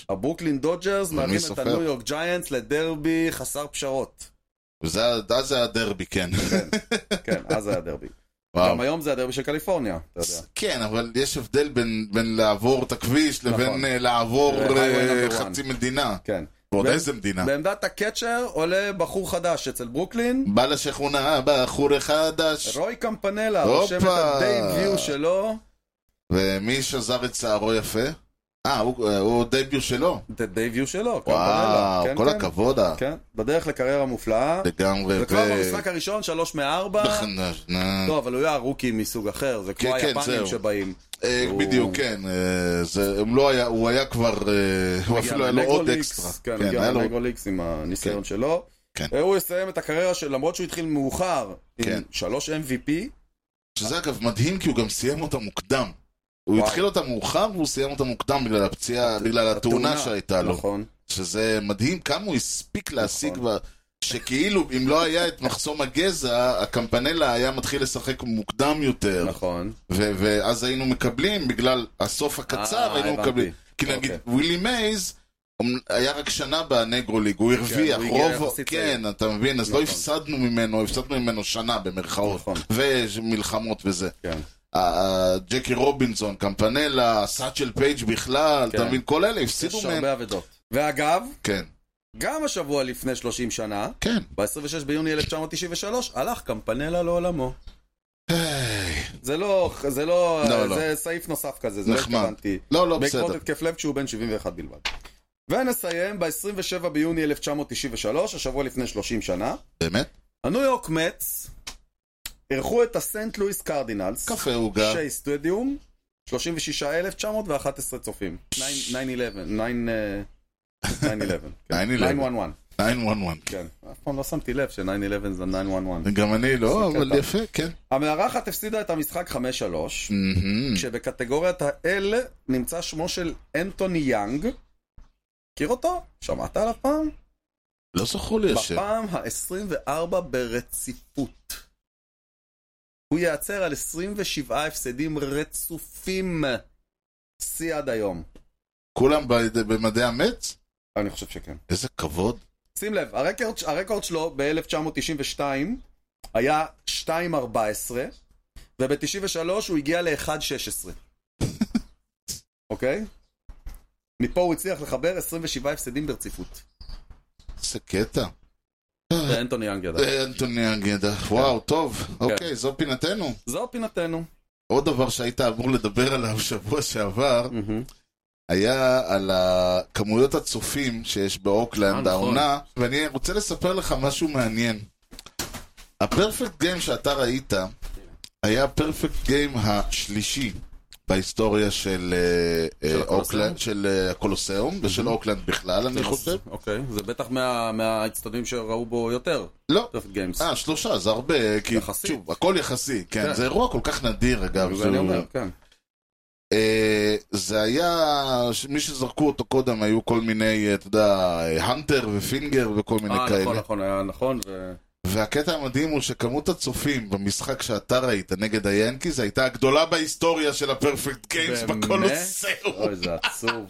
B: הברוקלין דודג'רס מארחים את
A: סופר?
B: הניו יורק ג'יינטס לדרבי חסר
A: (laughs)
B: פשרות.
A: וזה אז זה הדרבי, כן. (laughs)
B: כן, אז זה היה דרבי.
A: וואו.
B: גם היום זה הדרבי של קליפורניה, אתה יודע.
A: כן, אבל יש הבדל בין, בין לעבור את הכביש לבין
B: נכון.
A: אה, לעבור
B: ל-highway
A: אה,
B: number one.
A: חצי מדינה.
B: כן.
A: ועוד
B: ו-
A: איזה מדינה.
B: בעמדת הקצ'ר עולה בחור חדש אצל ברוקלין,
A: בא לשכונה, בא בחור חדש.
B: רוי קמפנלה
A: הופה.
B: רושם את הדייביו שלו,
A: ומי שזר את שערו יפה? אה, הוא אה, הוא דייביוט שלו.
B: את הדייביו שלו, קמפנלה.
A: וואו,
B: כן,
A: כל
B: כן.
A: הכבוד. אה.
B: כן, בדרך לקריירה מופלאה.
A: לגמרי.
B: זה
A: ו-
B: כבר במשחק הראשון, שלוש מארבע.
A: אה,
B: לא, אבל הוא היה רוקי מסוג אחר, זה כמו
A: כן, כן,
B: היפנים
A: זהו.
B: שבאים.
A: אה,
B: הוא-
A: בדיוק, כן. אה, זה- הם לא היה- הוא היה כבר, אה, הוא אפילו היה לו עוד
B: לנגרוליקס,
A: אקסטרה.
B: כן,
A: כן,
B: הגיע
A: היה לו-
B: לנגרוליקס עם הניסיון
A: כן.
B: שלו.
A: כן.
B: אה, הוא יסיים את הקריירה של, למרות שהוא התחיל מאוחר,
A: כן.
B: עם שלוש MVP,
A: שזה אגב מדהים כי הוא גם סיים אותה מוקדם. הוא
B: וואו.
A: התחיל אותה מאוחר והוא סיים אותה מוקדם בגלל הפציעה, בגלל התאונה שהייתה לו.
B: נכון.
A: שזה מדהים כמה הוא הספיק להשיג, ב- שכאילו אם לא היה את מחסום הגזע, הקמפנלה היה מתחיל לשחק מוקדם יותר,
B: נכון.
A: ו- ואז היינו מקבלים, בגלל הסוף
B: אה,
A: הקצר היינו
B: הבנתי.
A: מקבלים. כי נגיד
B: אוקיי.
A: ווילי מייז, אמ- היה רק שנה בנגרו ליג, הוא הרוויח,
B: כן, הוא הגיע
A: רוב,
B: יחסית
A: כן, אתה מבין, אז לא
B: נכון.
A: הפסדנו ממנו, הפסדנו ממנו שנה במרכאות,
B: נכון.
A: ומלחמות וזה.
B: כן.
A: ה- ה- ג'קי רובינזון, קמפנלה, סאצ'ל פייג' בכלל,
B: כן.
A: אתה מבין, כל אלה
B: יש
A: הפסידו מהם.
B: הרבה אבדות. ואגב,
A: כן,
B: גם השבוע לפני 30 שנה,
A: כן.
B: ב-26 ביוני 1993, הלך קמפנלה לעולמו.
A: היי,
B: זה לא, זה לא,
A: לא, לא.
B: זה סעיף נוסף כזה, זה לא
A: נחמד.
B: התכוונתי.
A: לא, לא,
B: בעקבות
A: בסדר.
B: התקף לב כשהוא בן 71 בלבד. ונסיים ב-27 ביוני 1993, השבוע לפני 30 שנה.
A: באמת?
B: הניו יורק מצ אירחו את הסנט לואיס קרדינלס,
A: קפה עוגה.
B: שי סטדיום, 36,911 צופים. 9-11, אה, 9-11, 911,
A: 911.
B: כן. אף פעם לא שמתי לב ש-9-11 זה 911.
A: גם אני לא,
B: זה
A: אבל
B: קטע.
A: יפה, כן.
B: המארחת הפסידה את המשחק 5-3.
A: מהמם.
B: כשבקטגוריית האל נמצא שמו של אנטוני יאנג. מכיר אותו? שמעת עליו פעם?
A: לא זכור לי השם.
B: בפעם ה-24 ברציפות. הוא ייעצר על 27 הפסדים רצופים. שיא עד היום.
A: כולם ב- במדעי המץ?
B: אני חושב שכן.
A: איזה כבוד.
B: שים לב, הרקורד, הרקורד שלו ב-1992 היה 2.14, וב-93 הוא הגיע ל-1.16. אוקיי? מפה הוא הצליח לחבר 27 הפסדים ברציפות.
A: איזה קטע.
B: זה אנטוני יאנג ידע.
A: אה, אנטוני אגדה. וואו, טוב.
B: כן.
A: אוקיי, זו פינתנו.
B: זו פינתנו.
A: עוד דבר שהיית אמור לדבר עליו שבוע שעבר, היה על הכמויות הצופים שיש
B: אה,
A: באוקלנד,
B: נכון.
A: העונה, ואני רוצה לספר לך משהו מעניין. הפרפקט גיים שאתה ראית, היה הפרפקט גיים השלישי בהיסטוריה של אה, אה,
B: הקולוסיאום? Mm-hmm.
A: אוקלנד, של אה, הקולוסיאום, ושל אוקלנד בכלל, אני חושב.
B: אוקיי, זה בטח מה- מהאצטדיונים שראו בו יותר.
A: לא.
B: טרפט גיימס.
A: אה, שלושה, זה הרבה, כי
B: יחסית.
A: שוב, הכל יחסי, כן,
B: כן.
A: זה אירוע כל כך נדיר אגב,
B: זה אני
A: זה-
B: אומר, כן.
A: אה, זה היה, ש- מי שזרקו אותו קודם היו כל מיני, אה, אתה יודע, אה, הנטר ופינגר וכל מיני
B: אה,
A: כאלה.
B: נכון, נכון, היה נכון. ו-
A: והקטע המדהים הוא שכמות הצופים במשחק שאתה ראית נגד היאנקיז הייתה הגדולה בהיסטוריה של הפרפקט גיימס
B: באמת?
A: בקולוסיאום.
B: אוי, זה עצוב.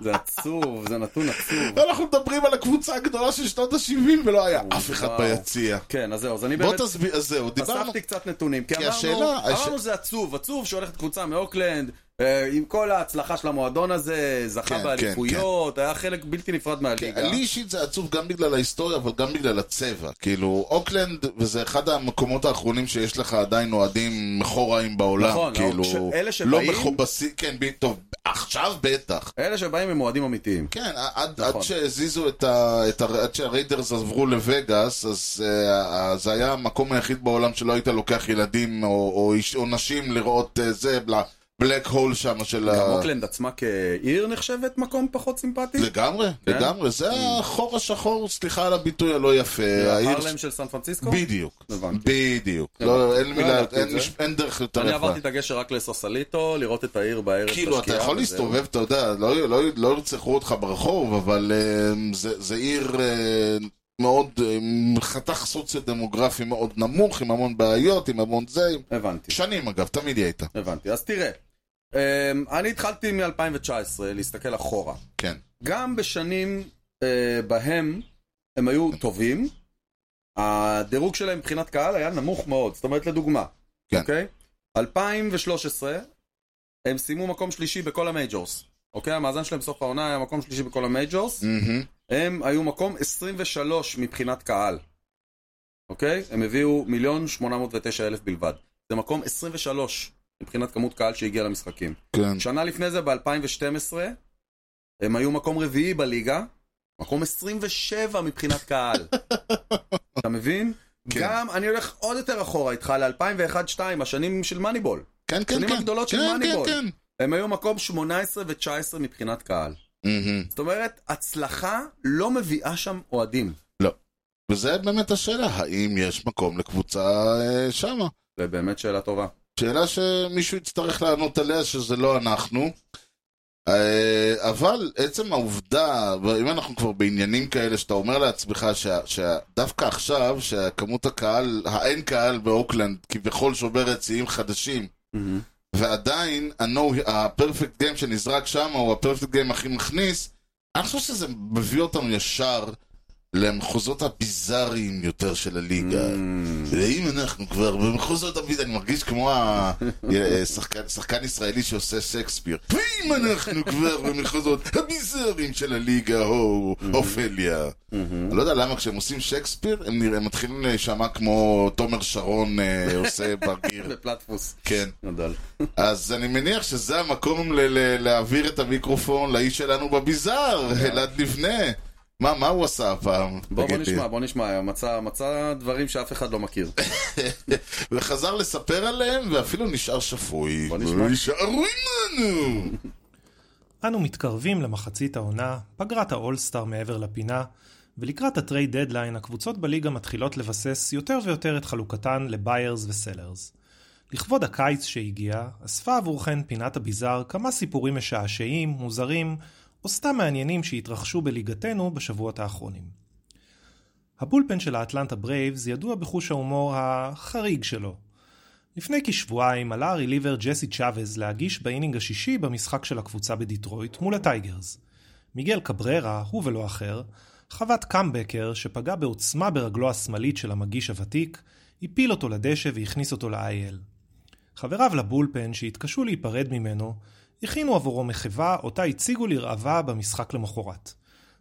B: זה עצוב, זה נתון עצוב.
A: אנחנו מדברים על הקבוצה הגדולה של שנות ה-70 ולא היה אף אחד
B: וואו.
A: ביציע.
B: כן, אז זהו, אז אני
A: בוא
B: באמת...
A: תסביר, אז זהו, דיברנו.
B: אספתי קצת נתונים, כי אמרנו,
A: השאלה- הש-
B: אמרנו זה עצוב, עצוב שהולכת קבוצה מאוקלנד, אה, עם כל ההצלחה של המועדון הזה,
A: כן,
B: זכה
A: כן,
B: באליפויות, היה חלק בלתי נפרד מהליגה.
A: לי אישית זה עצוב גם בגלל ההיסטוריה, אבל גם בגלל הצבע. כאילו, אוקלנד, וזה אחד המקומות האחרונים שיש לך עדיין אוהדים מכוראים בעולם.
B: נכון,
A: כאילו,
B: ש- אלה
A: לא
B: שבאים-
A: מכובסים, כן, ב- טוב, עכשיו בטח.
B: אלה שבאים הם אוהדים אמיתיים.
A: כן, עד,
B: נכון.
A: עד שהזיזו את ה... את ה... עד שהריידרס עברו לווגאס, אז uh, זה היה המקום היחיד בעולם שלא היית לוקח ילדים או, או, איש, או נשים לראות uh, זה, בלק הול שם של
B: גם
A: ה...
B: אוקלנד עצמה כעיר נחשבת מקום פחות סימפטי?
A: לגמרי,
B: כן?
A: לגמרי, זה החור השחור, סליחה על הביטוי הלא יפה. העיר
B: הרלם של סן פרנסיסקו?
A: בדיוק,
B: הבנתי.
A: בדיוק.
B: הבנתי.
A: לא, אין
B: לא
A: מילה,
B: ידעתי
A: אין
B: את זה.
A: מש- אין דרך יותר
B: אני
A: יפה.
B: עברתי את הגשר רק לסוסליטו, לראות את העיר בערב.
A: כאילו, אתה
B: בשקיעה,
A: יכול
B: וזהו.
A: להסתובב, אתה יודע, לא- לא- לא ירצחו אותך ברחוב, אבל אה, זה זה עיר אה, מאוד, אה, עם חתך סוציו-דמוגרפי מאוד נמוך, עם המון בעיות, עם המון זה, עם-
B: הבנתי.
A: שנים אגב, תמיד היא הייתה.
B: הבנתי. אז תראה, אמ, אני התחלתי מ-2019 להסתכל אחורה.
A: כן.
B: גם בשנים אה, בהם הם היו טובים, הדירוג שלהם מבחינת קהל היה נמוך מאוד. זאת אומרת, לדוגמה,
A: כן.
B: אוקיי? 2013, הם סיימו מקום שלישי בכל המייג'ורס. אוקיי? המאזן שלהם בסוף העונה היה מקום שלישי בכל המייג'ורס.
A: מהמם.
B: הם היו מקום 23 מבחינת קהל. אוקיי? הם הביאו מיליון שמונה מאות ותשע אלף בלבד. זה מקום 23 מבחינת כמות קהל שהגיע למשחקים.
A: כן.
B: שנה לפני זה, ב-2012, הם היו מקום רביעי בליגה, מקום 27 מבחינת קהל. אתה מבין?
A: כן.
B: גם, אני הולך עוד יותר אחורה איתך, ל-2001-2002, השנים של מאניבול.
A: כן, כן,
B: השנים
A: כן.
B: הגדולות של
A: כן,
B: מאניבול.
A: כן,
B: הם היו מקום 18 ו-19 מבחינת קהל.
A: כן. מהמם.
B: זאת אומרת, הצלחה לא מביאה שם אוהדים.
A: וזה באמת השאלה, האם יש מקום לקבוצה אה, שמה?
B: זה באמת שאלה טובה.
A: שאלה שמישהו יצטרך לענות עליה שזה לא אנחנו. אה, אבל עצם העובדה, אם אנחנו כבר בעניינים כאלה שאתה אומר לעצמך שה- שדווקא עכשיו, שכמות הקהל, האין קהל באוקלנד כביכול שוברת שיאים חדשים, ועדיין ה-no- ה-perfect game שנזרק שם הוא ה-perfect game הכי מכניס, אני חושב שזה מביא אותנו ישר למחוזות הביזאריים יותר של הליגה.
B: Mm.
A: ואם אנחנו כבר במחוזות הביז... אני מרגיש כמו ה- אה, שחקן- שחקן ישראלי שעושה שייקספיר. ואם אנחנו כבר במחוזות הביזאריים של הליגה, הו, אופליה. אני לא יודע למה כשהם עושים שייקספיר, הם נראה- הם מתחילים להישמע כמו תומר שרון אה, עושה בגיר.
B: בפלטפוס.
A: כן.
B: גדול.
A: אז אני מניח שזה המקום ל- ל- להעביר את המיקרופון לאיש שלנו בביזאר, אלעד לבנה. מה, מה הוא עשה הפעם?
B: כן. בוא בוא
A: תגיד לי?
B: נשמע, בוא נשמע, מצא- מצא דברים שאף אחד לא מכיר.
A: וחזר לספר עליהם, ואפילו נשאר שפוי. לא
B: בוא נשמע.
A: יישארו עמנו!
E: אנו מתקרבים למחצית העונה, פגרת האולסטאר מעבר לפינה, ולקראת הטרייד דדליין הקבוצות בליגה מתחילות לבסס יותר ויותר את חלוקתן לביירס וסלרס. לכבוד הקיץ שהגיע, אספה עבורכן פינת הביזאר כמה סיפורים משעשעים, מוזרים, או סתם מעניינים שהתרחשו בליגתנו בשבועות האחרונים. הבולפן של האטלנטה ברייבס ידוע בחוש ההומור החריג שלו, לפני כשבועיים עלה הרליבר ג'סי צ'אבז להגיש באינינג השישי במשחק של הקבוצה בדיטרויט מול הטייגרס. מיגל קבררה, הוא ולא אחר, חבט קאמבקר שפגע בעוצמה ברגלו השמאלית של המגיש הוותיק, הפיל אותו לדשא והכניס אותו ל-IL. חבריו לבולפן שהתקשו להיפרד ממנו, הכינו עבורו מחווה אותה הציגו לרעבה במשחק למחרת.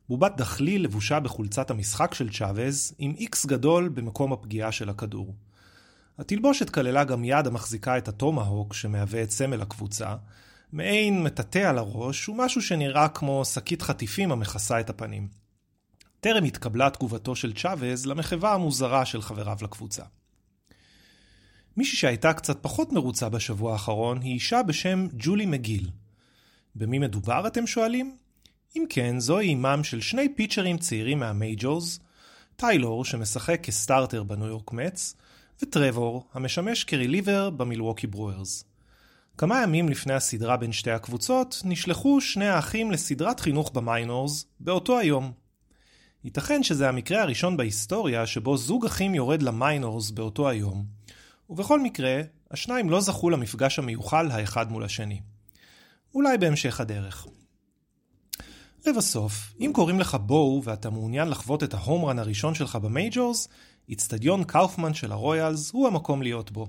E: בובת דחליל לבושה בחולצת המשחק של צ'אבז, עם איקס גדול במקום הפגיעה של הכדור. התלבושת כללה גם יד המחזיקה את הטומהוק שמהווה את סמל הקבוצה, מעין מטאטא על הראש ומשהו שנראה כמו שקית חטיפים המכסה את הפנים. טרם התקבלה תגובתו של צ'אבז למחווה המוזרה של חבריו לקבוצה. מישהי שהייתה קצת פחות מרוצה בשבוע האחרון היא אישה בשם ג'ולי מגיל. במי מדובר אתם שואלים? אם כן, זוהי אימם של שני פיצ'רים צעירים מהמייג'ורס, טיילור שמשחק כסטארטר בניו יורק מצ, וטרבור, המשמש כריליבר במילווקי ברוארס. כמה ימים לפני הסדרה בין שתי הקבוצות, נשלחו שני האחים לסדרת חינוך במיינורס, באותו היום. ייתכן שזה המקרה הראשון בהיסטוריה שבו זוג אחים יורד למיינורס באותו היום. ובכל מקרה, השניים לא זכו למפגש המיוחל האחד מול השני. אולי בהמשך הדרך. לבסוף, אם קוראים לך בואו ואתה מעוניין לחוות את ההומרן הראשון שלך במייג'ורס, אצטדיון קאופמן של הרויאלס הוא המקום להיות בו.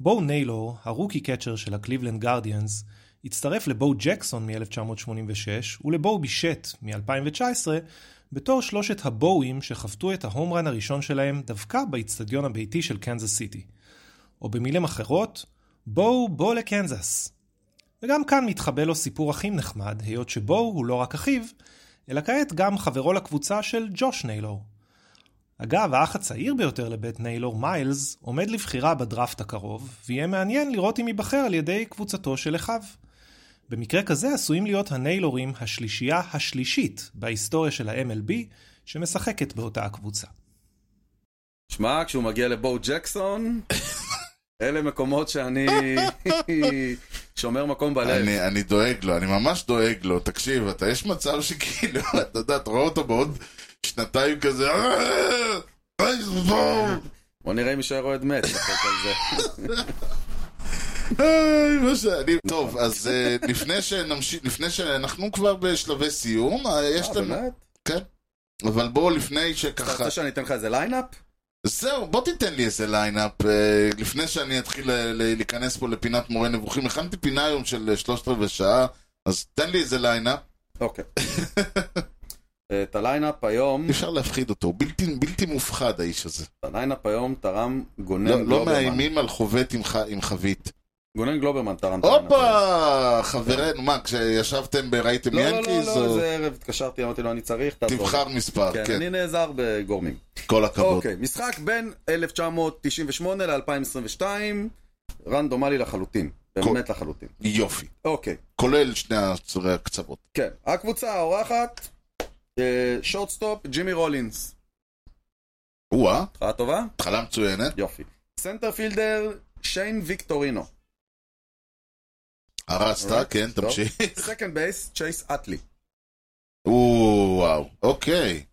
E: בואו ניילור, הרוקי קצ'ר של הקליבלנד גרדיאנס, הצטרף לבואו ג'קסון מ-1986 ולבואו בישט מ-2019 בתור שלושת הבואוים שחבטו את ההומרן הראשון שלהם דווקא באצטדיון הביתי של קנזס סיטי. או במילים אחרות, בואו בוא לקנזס. וגם כאן מתחבא לו סיפור אחים נחמד, היות שבו הוא לא רק אחיו, אלא כעת גם חברו לקבוצה של ג'וש ניילור. אגב, האח הצעיר ביותר לבית ניילור, מיילס, עומד לבחירה בדראפט הקרוב, ויהיה מעניין לראות אם ייבחר על ידי קבוצתו של אחיו. במקרה כזה עשויים להיות הניילורים השלישייה השלישית בהיסטוריה של ה-MLB, שמשחקת באותה הקבוצה.
B: שמע, כשהוא מגיע לבו ג'קסון, אלה
A: (laughs)
B: מקומות שאני שומר מקום בלב.
A: (laughs) אני, אני דואג לו, אני ממש דואג לו. תקשיב, אתה, יש מצב שכאילו, (laughs) אתה יודע, אתה רואה אותו בעוד שנתיים כזה, "אה, אה, (laughs) בואו."
B: בוא נראה אם יישאר אוהד
A: (laughs)
B: מת. לחוק על זה.
A: היי, אה, מה שאני... טוב, אז אה, לפני שנמשיך, לפני שאנחנו כבר בשלבי סיום, אה, יש
B: אה,
A: לנו...
B: באמת?
A: כן. אבל בואו לפני
B: אתה
A: שככה...
B: רוצה שאני אתן לך איזה ליינאפ?
A: זהו, בוא תיתן לי איזה ליינאפ אה, לפני שאני אתחיל אה, ל- להיכנס פה לפינת מורה נבוכים. הכנתי פינה היום של אה, שלושת רבעי שעה, אז תן לי איזה ליינאפ. (laughs)
B: אוקיי. אה, את הליינאפ היום,
A: אי אפשר להפחיד אותו, הוא בלתי, בלתי מופחד האיש הזה.
B: את הליינאפ היום תרם
A: לא,
B: גונן
A: לא אה,
B: גלוברמן.
A: מאיימים על חובט עם, ח... עם חבית.
B: גונן גלוברמן תרם את
A: נכון.
B: הליינאפ היום.
A: הופה! חברנו, מה, כשישבתם וראיתם
B: לא, לא, לא,
A: ינקיז?
B: לא,
A: או...
B: איזה ערב התקשרתי, אמרתי לו, אני צריך, תעזור.
A: תבחר מספר,
B: כן,
A: כן.
B: אני נעזר בגורמים.
A: כל הכבוד.
B: אוקיי, משחק בין 1998 ל-2022, רנדומלי לחלוטין. באמת לחלוטין.
A: יופי.
B: אוקיי,
A: כולל שני הצורי הקצוות.
B: כן. הקבוצה האורחת, אה, שורטסטופ, ג'ימי רולינס.
A: או-אה,
B: התחלה טובה?
A: התחלה מצוינת.
B: יופי. סנטרפילדר, שיין ויקטורינו.
A: הרסת,
B: אורייט,
A: כן,
B: טוב.
A: תמשיך.
B: סקנד בייס, צ'ייס אטלי.
A: או, וואו. אוקיי,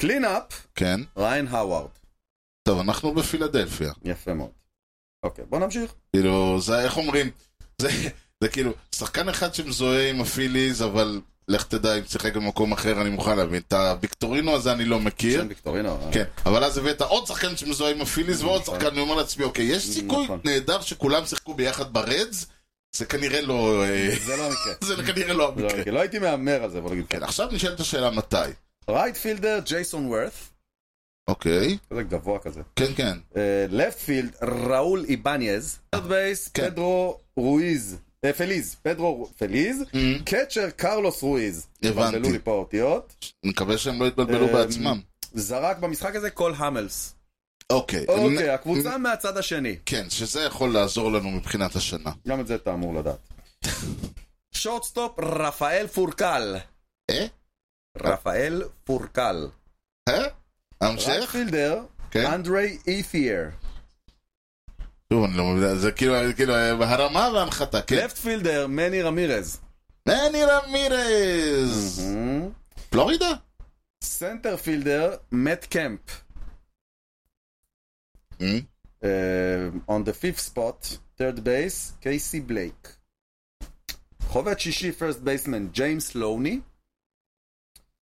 B: קלינאפ,
A: כן.
B: ריין האווארד.
A: טוב, אנחנו בפילדלפיה.
B: יפה מאוד. אוקיי, בוא נמשיך.
A: כאילו, זה, איך אומרים? זה, זה כאילו, שחקן אחד שמזוהה עם הפיליז, אבל לך תדע אם שיחק במקום אחר, אני מוכן להבין. את הוויקטורינו הזה אני לא מכיר.
B: שיין ויקטורינו. אה.
A: כן, אבל אז הבאת עוד שחקן שמזוהה עם הפיליז ועוד
B: נכון.
A: שחקן, אני אומר לעצמי, אוקיי, יש סיכוי
B: נכון.
A: נהדר שכולם שיחקו ביחד ברדס? זה כנראה לא... אה, (laughs)
B: זה לא המקרה.
A: זה כנראה לא
B: זה לא
A: המקרה.
B: המקרה. לא הייתי מהמר על זה, בוא נגיד.
A: כן, עכשיו נשאלת השאלה מתי.
B: רייטפילדר, ג'ייסון וורת.
A: אוקיי,
B: כזה גבוה כזה.
A: כן, כן.
B: לפטפילד, ראול איבניאז. third בייס,
A: כן.
B: פדרו רואיז. אה, פליז. פדרו פליז.
A: אמ,
B: קצ'ר, קרלוס רואיז.
A: הבנתי.
B: התבלבלו לי פה האותיות.
A: מקווה שהם לא יתבלבלו
B: אמ,
A: בעצמם.
B: זרק במשחק הזה קול המלס.
A: אוקיי. נ-
B: אוקיי, הקבוצה מהצד השני.
A: כן, שזה יכול לעזור לנו מבחינת השנה.
B: גם את זה אתה אמור לדעת. שורטסטופ, רפאל פורקל.
A: אה?
B: רפאל פורקל.
A: אה? המשך?
B: רייטפילדר,
A: כן.
B: אנדרי אית'יאר.
A: שוב, אני לא מבין, זה כאילו, כאילו, הרמה והנחתה, כן.
B: לפטפילדר, מני רמירז.
A: מני רמירז! פלורידה?
B: סנטרפילדר, מאט קמפ.
A: אמ,
B: אה, on the fifth spot, third base, קייסי בלייק. חובד שישי, first baseman, ג'יימס לוני.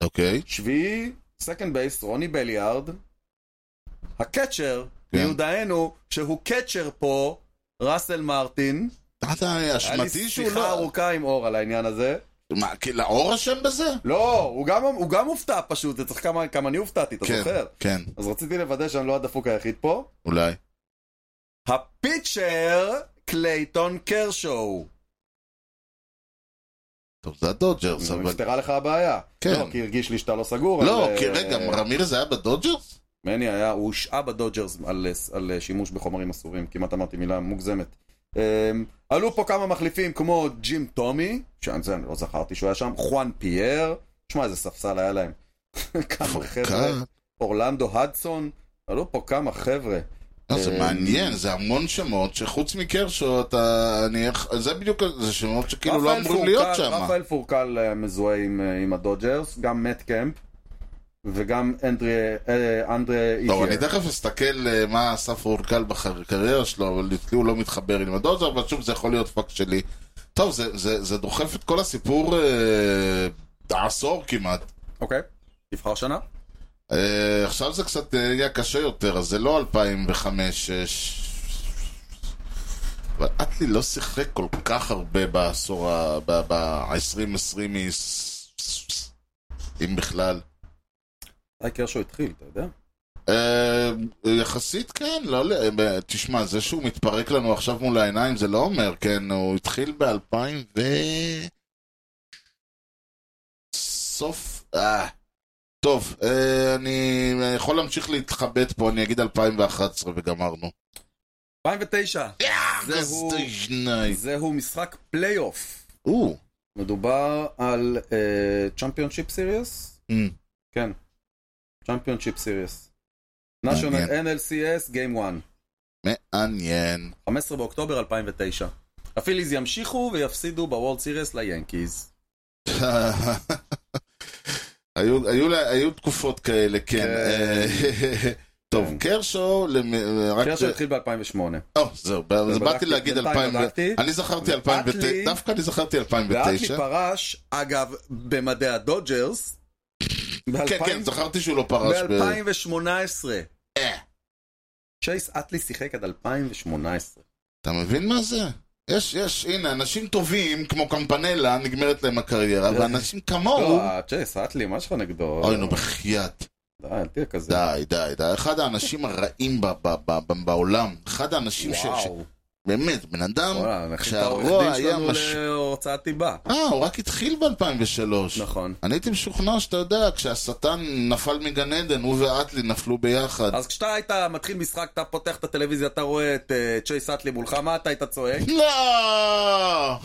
A: אוקיי.
B: שביעי, second base, רוני בליארד. הקצ'ר,
A: כן.
B: מיודענו, שהוא קצ'ר פה, ראסל מרטין.
A: אתה אה,
B: היה לי
A: אשמתי שהוא
B: שיחה
A: לא...
B: ארוכה עם אור על העניין הזה.
A: מה, כי לאור אשם בזה?
B: לא, הוא גם, הוא גם הופתע פשוט, זה צריך כמה, כמה אני הופתעתי, אתה
A: כן,
B: זוכר?
A: כן,
B: אז רציתי לוודא שאני לא הדפוק היחיד פה.
A: אולי.
B: הפיצ'ר, קלייטון קרשו.
A: טוב, זה הדודג'רס, אבל...
B: נפתרה לך הבעיה.
A: כן.
B: לא, כי הרגיש לי שאתה לא סגור.
A: לא,
B: אבל,
A: כי
B: אה,
A: רגע, רמירז היה בדודג'רס?
B: מני היה, הוא הושעה בדודג'רס על, אה, על שימוש בחומרים אסורים, כמעט אמרתי מילה מוגזמת. אה, עלו פה כמה מחליפים כמו ג'ים טומי, שאני זה, אני לא זכרתי שהוא היה שם, חואן פייר, שמע איזה ספסל היה להם. (laughs) כמה חבר'ה,
A: כן.
B: אורלנדו הדסון, עלו פה כמה חבר'ה.
A: לא, זה
B: אה,
A: מעניין, זה המון שמות שחוץ מקרשו אתה... אני... איך- זה בדיוק, זה שמות שכאילו לא
B: רפאל
A: אמורים
B: פורקל-
A: להיות שם.
B: רפאל פורקל אה, מזוהה עם, אה, עם הדודג'רס, גם מאט קמפ. וגם אנדרי- אה, אנדרי
A: טוב, אני
B: איטייר.
A: תכף אסתכל אה, מה אסף אורקל בקריירה שלו, אבל אצלי הוא לא מתחבר עם הדודג'ר, אבל שוב, זה יכול להיות פאק שלי. טוב, זה, זה, זה דוחף את כל הסיפור אה, עשור כמעט.
B: אוקיי, תבחר שנה.
A: אה, עכשיו זה קצת אה, יהיה קשה יותר, אז זה לא 2005 6 אבל אטלי לא שיחק כל כך הרבה בעשור ה... ב-2020 אם בכלל.
B: אי קרשו התחיל, אתה יודע?
A: אה, יחסית כן, לא, ל- ב- תשמע, זה שהוא מתפרק לנו עכשיו מול העיניים זה לא אומר, כן, הוא התחיל ב-2000 ו... סוף, אה, טוב, אה, אני יכול להמשיך להתחבט פה, אני אגיד 2011 וגמרנו.
B: 2009, זהו-
A: גזדז'ני.
B: זהו משחק פלייאוף.
A: או,
B: מדובר על צ'מפיונשיפ סיריוס?
A: אמ,
B: כן, צ'מפיונשיפ סיריוס.
A: מעניין.
B: national NLCS Game 1,
A: מעניין. (laughs)
B: 15 באוקטובר 2009. הפיליז ימשיכו ויפסידו בוולד סיריוס ליאנקיז.
A: היו, היו, לה- היו תקופות כאלה, כן.
B: כן.
A: אה, (laughs) טוב,
B: כן.
A: קרשו, למ- רק...
B: קרשו התחיל ב-2008.
A: או, זהו, אז באתי
B: בדקתי,
A: להגיד
B: בינתיים
A: 2000,
B: בדקתי.
A: אני זכרתי
B: ואט
A: 2009,
B: לי-
A: דווקא אני זכרתי
B: ואטלי
A: 2009.
B: פרש, אגב, במדעי הדודג'רס.
A: כן,
B: ב-אלפיים-
A: כן, זכרתי שהוא לא פרש. ב-
B: ב-2018.
A: אה.
B: צ'ייס אטלי שיחק עד 2018.
A: אתה מבין מה זה? יש, יש, הנה, אנשים טובים, כמו קמפנלה, נגמרת להם הקריירה, ואנשים כמוהו...
B: לא, צ'ייס אטלי, מה יש לך נגדו?
A: אוי, נו, בחייאת.
B: די, אל תהיה כזה.
A: די, די, די. אחד האנשים הרעים ב- ב- ב- ב- בעולם. אחד האנשים ש... ש-
B: וואו.
A: באמת, בן אדם...
B: וואלה, נכין את
A: כשהרוע
B: העורך דין
A: היה
B: שלנו
A: מש-
B: להוצאת דיבה.
A: אה, הוא רק התחיל ב-2003.
B: נכון.
A: אני הייתי משוכנע שאתה יודע, כשהשטן נפל מגן עדן, הוא ואטלי נפלו ביחד.
B: אז כשאתה היית מתחיל משחק, אתה פותח את הטלוויזיה, אתה רואה את אה, צ'ייס אטלי מולך, מה אתה היית צועק?
A: לא!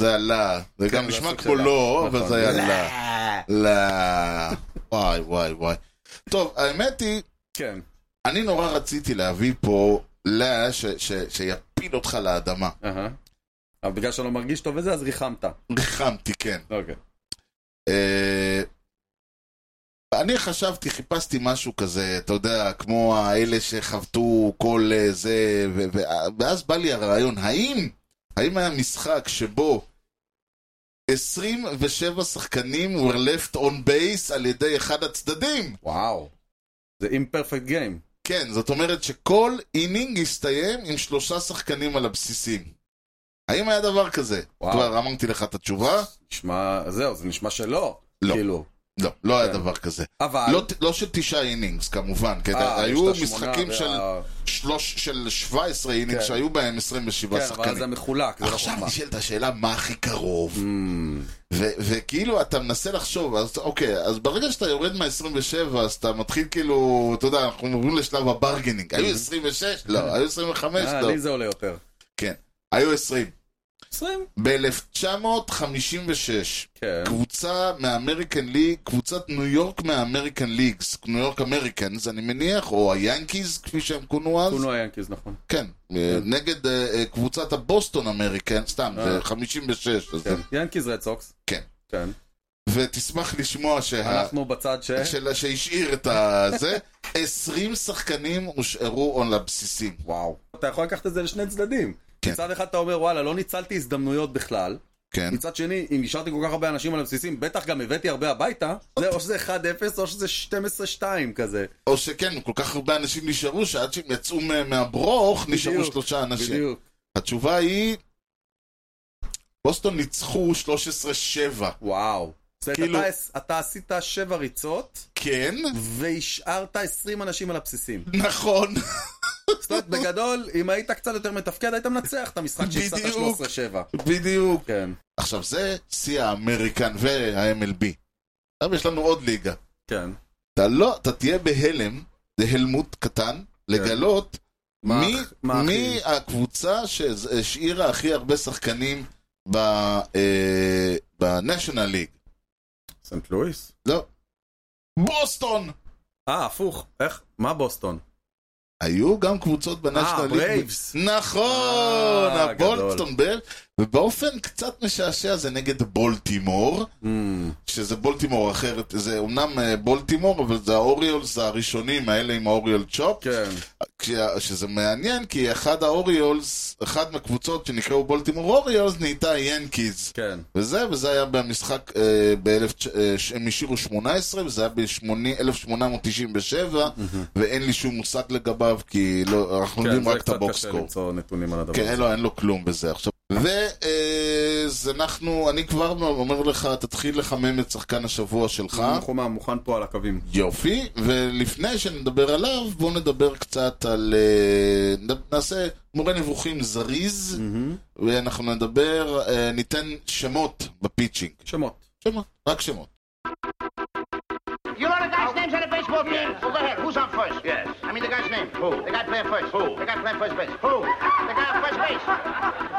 A: זה עלה. זה
B: כן,
A: גם
B: זה
A: נשמע
B: הסוג
A: כמו
B: שלה.
A: לא, אבל
B: נכון.
A: זה היה לה. לה. וואי, וואי, וואי. טוב, האמת היא,
B: כן.
A: אני נורא רציתי להביא פה לה ש- ש- שיפיל אותך לאדמה.
B: אהה. אבל בגלל שאני לא מרגיש טוב וזה, אז ריחמת.
A: ריחמתי, כן.
B: אוקיי.
A: אה, אני חשבתי, חיפשתי משהו כזה, אתה יודע, כמו האלה שחבטו כל אה, זה, ו- ו- ואז בא לי הרעיון, האם, האם היה משחק שבו 27 שחקנים were left on base על ידי אחד הצדדים?
B: וואו. זה אימפרפקט גיים.
A: כן, זאת אומרת שכל אינינג הסתיים עם שלושה שחקנים על הבסיסים. האם היה דבר כזה?
B: וואו.
A: כבר אמרתי לך את התשובה?
B: נשמע, זהו, זה נשמע שלא.
A: לא.
B: כאילו.
A: לא, לא היה
B: כן.
A: דבר כזה.
B: אבל...
A: לא, לא של תשעה אינינגס, כמובן, כי
B: אה, יש
A: היו
B: את השמונה
A: משחקים
B: וה-
A: של, שלוש, של 17 אינינגס
B: כן.
A: שהיו בהם 27
B: כן, אבל זה
A: שחקנים.
B: מחולק, זה לא
A: עכשיו
B: חוכמה.
A: נשאלת השאלה מה הכי קרוב,
B: אמ,
A: ו- וכאילו אתה מנסה לחשוב, אז אוקיי, אז ברגע שאתה יורד מה-27, אז אתה מתחיל כאילו, אתה יודע, אנחנו עוברים לשלב הברגנינג, היו 26? לא, היו 25?
B: כן. אה,
A: לא,
B: לי זה עולה יותר.
A: כן, היו 20.
B: 20?
A: ב-1956,
B: כן.
A: קבוצה מהאמריקן ליג, קבוצת ניו יורק מהאמריקן ליגס, ניו יורק אמריקנס, אני מניח, או היאנקיז, כפי שהם כונו אז,
B: קונו היאנקיז, נכון.
A: כן, אה, נגד אה, אה, קבוצת הבוסטון אמריקן, סתם,
B: אה.
A: זה 56, אז
B: כן.
A: זה-
B: יאנקיז רד סוקס.
A: כן.
B: כן. אה,
A: ותשמח לשמוע שה-
B: אנחנו בצד ש...
A: של- שהשאיר את
B: (laughs)
A: הזה, 20 שחקנים הושארו על הבסיסים.
B: וואו. אתה יכול לקחת את זה לשני צדדים.
A: כן.
B: מצד אחד אתה אומר, וואלה, לא ניצלתי הזדמנויות בכלל.
A: כן,
B: מצד שני, אם השארתי כל כך הרבה אנשים על הבסיסים, בטח גם הבאתי הרבה הביתה. זה או שזה 1-0 או שזה 12-2 כזה.
A: או שכן, כל כך הרבה אנשים נשארו, שעד שהם יצאו מה- מהברוך, נשארו
B: בדיוק,
A: שלושה אנשים.
B: בדיוק.
A: התשובה היא, בוסטון ניצחו 13-7.
B: וואו. זאת אומרת,
A: כאילו-
B: אתה- אתה עשית 7 ריצות, (laughs)
A: כן,
B: והשארת 20 אנשים על הבסיסים.
A: נכון, (laughs)
B: זאת אומרת, בגדול, אם היית קצת יותר מתפקד, היית מנצח את המשחק שהפסדת
A: בדיוק.
B: 13-7.
A: בדיוק.
B: כן.
A: עכשיו זה שיא האמריקן וה-MLB. עכשיו יש לנו עוד ליגה.
B: כן.
A: אתה לא, אתה תהיה בהלם, זה הלמות קטן, לגלות
B: כן. מה-
A: מי,
B: מה
A: מי הקבוצה שהשאירה הכי הרבה שחקנים בניישנל ליג.
B: סנט לואיס?
A: לא. בוסטון!
B: אה, הפוך. איך? מה בוסטון?
A: היו גם קבוצות
B: אה,
A: בנשנל
B: ברייבס.
A: נכון,
B: אה,
A: הבולטסטונברג, ובאופן קצת משעשע זה נגד בולטימור, שזה בולטימור אחרת, זה אומנם אה, בולטימור, אבל זה האוריולס הראשונים, האלה עם האוריול צ'ופ,
B: כן.
A: כשה- שזה מעניין, כי אחד האוריולס, אחת מהקבוצות שנקראו בולטימור אוריולס, נהייתה ינקיז.
B: כן.
A: וזה, וזה היה במשחק, אה, באלף, אה, ש- הם השאירו 18, וזה היה ב-1897, ואין לי שום מושג לגביו, כי לא, אנחנו
B: כן,
A: יודעים
B: זה
A: רק את
B: קצת קשה
A: הבוקסקור.
B: למצוא נתונים על הדבר
A: כן, אין
B: הזה.
A: לו, אין לו כלום בזה עכשיו. ואז אנחנו, אני כבר אומר לך, תתחיל לחמם את שחקן השבוע שלך.
B: חומה מוכן פה על הקווים.
A: יופי, ולפני שנדבר עליו, בואו נדבר קצת על... אה, נ- נעשה מורה נבוכים זריז,
B: Mm-hmm.
A: ואנחנו נדבר, אה, ניתן שמות בפיצ'ינג.
B: שמות.
A: שמות, רק שמות.
F: You know the guy's names on the baseball team? Well, go ahead. Who's on first? Yes. I mean the guy's name. Who? The guy playing first. Who? The guy playing first base. Who? The guy on first base.